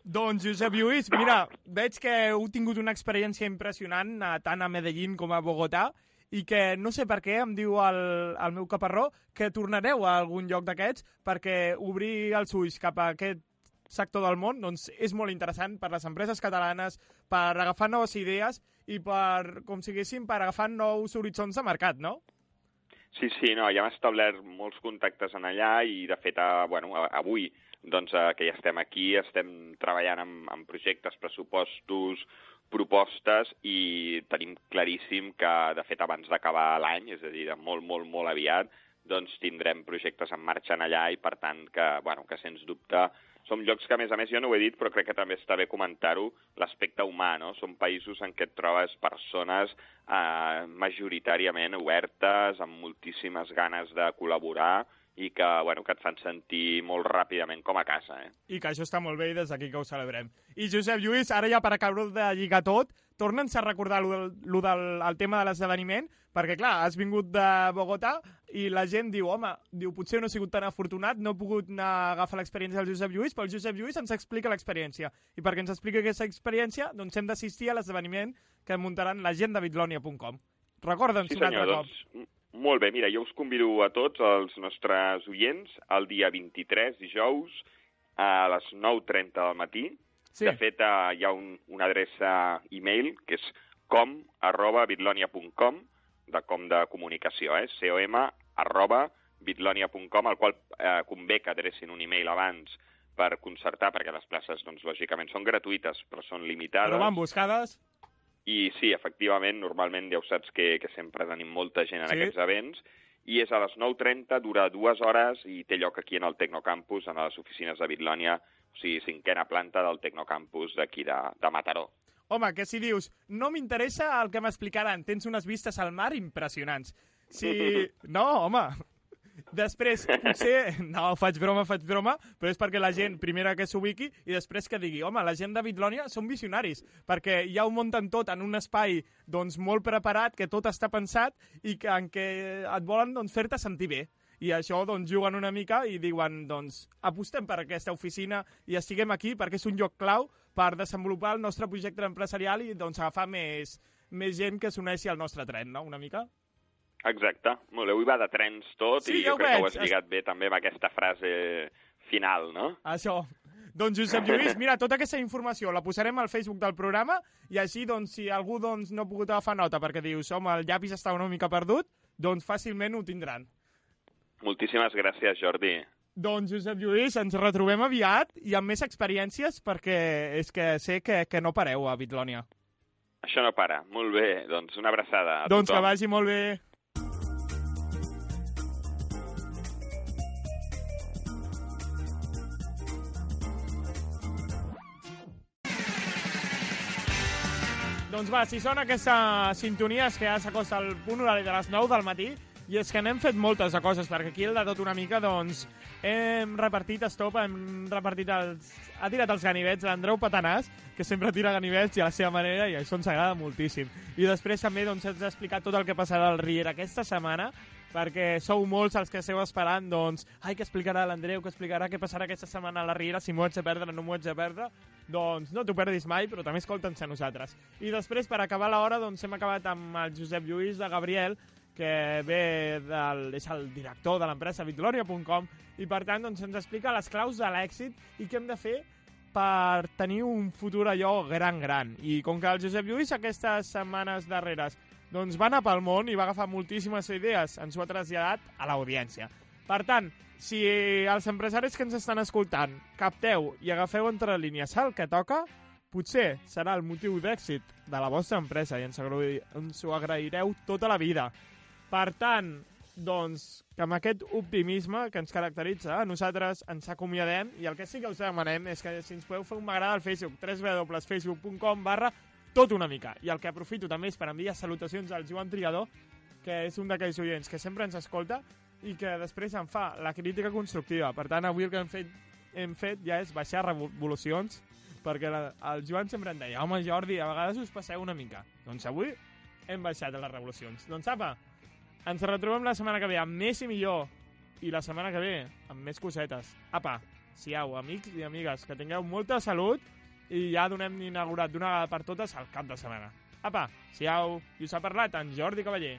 A: Doncs, Josep Lluís, mira, veig que heu tingut una experiència impressionant eh, tant a Medellín com a Bogotà i que no sé per què em diu el, el meu caparró que tornareu a algun lloc d'aquests perquè obrir els ulls cap a aquest sector del món doncs, és molt interessant per les empreses catalanes, per agafar noves idees i per, com siguéssim, per agafar nous horitzons de mercat, no?
H: Sí, sí, no, ja hem establert molts contactes en allà i, de fet, a, bueno, a, avui doncs, eh, que ja estem aquí, estem treballant amb, amb projectes, pressupostos, propostes i tenim claríssim que, de fet, abans d'acabar l'any, és a dir, de molt, molt, molt aviat, doncs tindrem projectes en marxa en allà i, per tant, que, bueno, que sens dubte són llocs que, a més a més, jo no ho he dit, però crec que també està bé comentar-ho, l'aspecte humà, no? Són països en què et trobes persones eh, majoritàriament obertes, amb moltíssimes ganes de col·laborar i que, bueno, que et fan sentir molt ràpidament com a casa, eh?
A: i que això està molt bé i des d'aquí que ho celebrem. I Josep Lluís, ara ja per acabar de lligar tot, torna'ns a recordar lo del, lo del el tema de l'esdeveniment, perquè clar, has vingut de Bogotà i la gent diu, home, diu, potser no he sigut tan afortunat, no he pogut anar a agafar l'experiència del Josep Lluís, però el Josep Lluís ens explica l'experiència. I perquè ens explica aquesta experiència, doncs hem d'assistir a l'esdeveniment que muntaran la gent de bitlonia.com. Recorda'ns un altre cop.
H: doncs, m- molt bé, mira, jo us convido a tots els nostres oients el dia 23, dijous, a les 9.30 del matí.
A: Sí.
H: De fet, eh, hi ha un, una adreça e-mail que és com arroba bitlonia.com, de com de comunicació, eh? com arroba bitlonia.com, al qual eh, convé que adrecin un e-mail abans per concertar, perquè les places, doncs, lògicament, són gratuïtes, però són limitades.
A: Però van buscades.
H: I sí, efectivament, normalment ja ho saps que, que sempre tenim molta gent en
A: Sí.
H: sí. aquests events, i és a les 9.30, dura dues hores i té lloc aquí en el Tecnocampus, en les oficines de Bitlònia, o sigui, cinquena planta del Tecnocampus d'aquí de, de Mataró.
A: Home, que si dius, no m'interessa el que m'explicaran, tens unes vistes al mar impressionants. Si... No, home, després, potser... No, faig broma, faig broma, però és perquè la gent, primera que s'ubiqui, i després que digui, home, la gent de Bitlònia són visionaris, perquè ja ho munten tot en un espai doncs, molt preparat, que tot està pensat, i que, en què et volen doncs, fer-te sentir bé. I això, doncs, juguen una mica i diuen, doncs, apostem per aquesta oficina i estiguem aquí perquè és un lloc clau per desenvolupar el nostre projecte empresarial i, doncs, agafar més, més gent que s'uneixi al nostre tren, no?, una mica.
H: Exacte, molt bé, avui va de trens tot
A: Sí,
H: i
A: ja ho
H: jo crec que ho
A: veig.
H: has lligat bé també amb aquesta frase final, no?
A: Això. Doncs Josep Lluís, mira, tota aquesta informació la posarem al Facebook del programa i així, doncs, si algú doncs, no ha pogut agafar nota perquè dius, home, el llapis està una mica perdut, doncs fàcilment ho tindran.
H: Moltíssimes gràcies, Jordi.
A: Doncs Josep Lluís, ens retrobem aviat i amb més experiències perquè és que sé que, que no pareu a Bitlònia.
H: Això no para. Molt bé, doncs una abraçada a
A: Doncs que
H: tothom.
A: vagi molt bé. Doncs va, si són aquestes sintonies que ja s'acosta al punt horari de les 9 del matí, I és que n'hem fet moltes de coses, perquè aquí el de tot una mica, doncs, hem repartit estopa, hem repartit els... Ha tirat els ganivets l'Andreu Patanàs, que sempre tira ganivets i a la seva manera, i això ens agrada moltíssim. I després també, doncs, ens ha explicat tot el que passarà al Riera aquesta setmana, perquè sou molts els que esteu esperant, doncs, ai, què explicarà l'Andreu, què explicarà, què passarà aquesta setmana a la Riera, si m'ho haig de perdre, no m'ho haig de perdre, doncs no t'ho perdis mai, però també escolta'ns a nosaltres. I després, per acabar l'hora, doncs hem acabat amb el Josep Lluís de Gabriel, que ve del, és el director de l'empresa Vitloria.com i per tant doncs, ens explica les claus de l'èxit i què hem de fer per tenir un futur allò gran, gran. I com que el Josep Lluís aquestes setmanes darreres doncs va anar pel món i va agafar moltíssimes idees, ens ho ha traslladat a l'audiència. Per tant, si els empresaris que ens estan escoltant capteu i agafeu entre línies el que toca, potser serà el motiu d'èxit de la vostra empresa i ens, agrui, ens ho agraireu tota la vida. Per tant, doncs, que amb aquest optimisme que ens caracteritza, eh, nosaltres ens acomiadem i el que sí que us demanem és que si ens podeu fer un m'agrada al Facebook, www.facebook.com barra tot una mica. I el que aprofito també és per enviar salutacions al Joan Trigador, que és un d'aquells oients que sempre ens escolta i que després em fa la crítica constructiva. Per tant, avui el que hem fet, hem fet ja és baixar revolucions, perquè la, el Joan sempre em deia, home Jordi, a vegades us passeu una mica. Doncs avui hem baixat a les revolucions. Doncs apa, ens retrobem la setmana que ve amb més i millor, i la setmana que ve amb més cosetes. Apa, siau, amics i amigues, que tingueu molta salut i ja donem inaugurat d'una vegada per totes el cap de setmana. Apa, siau, i us ha parlat en Jordi Cavaller.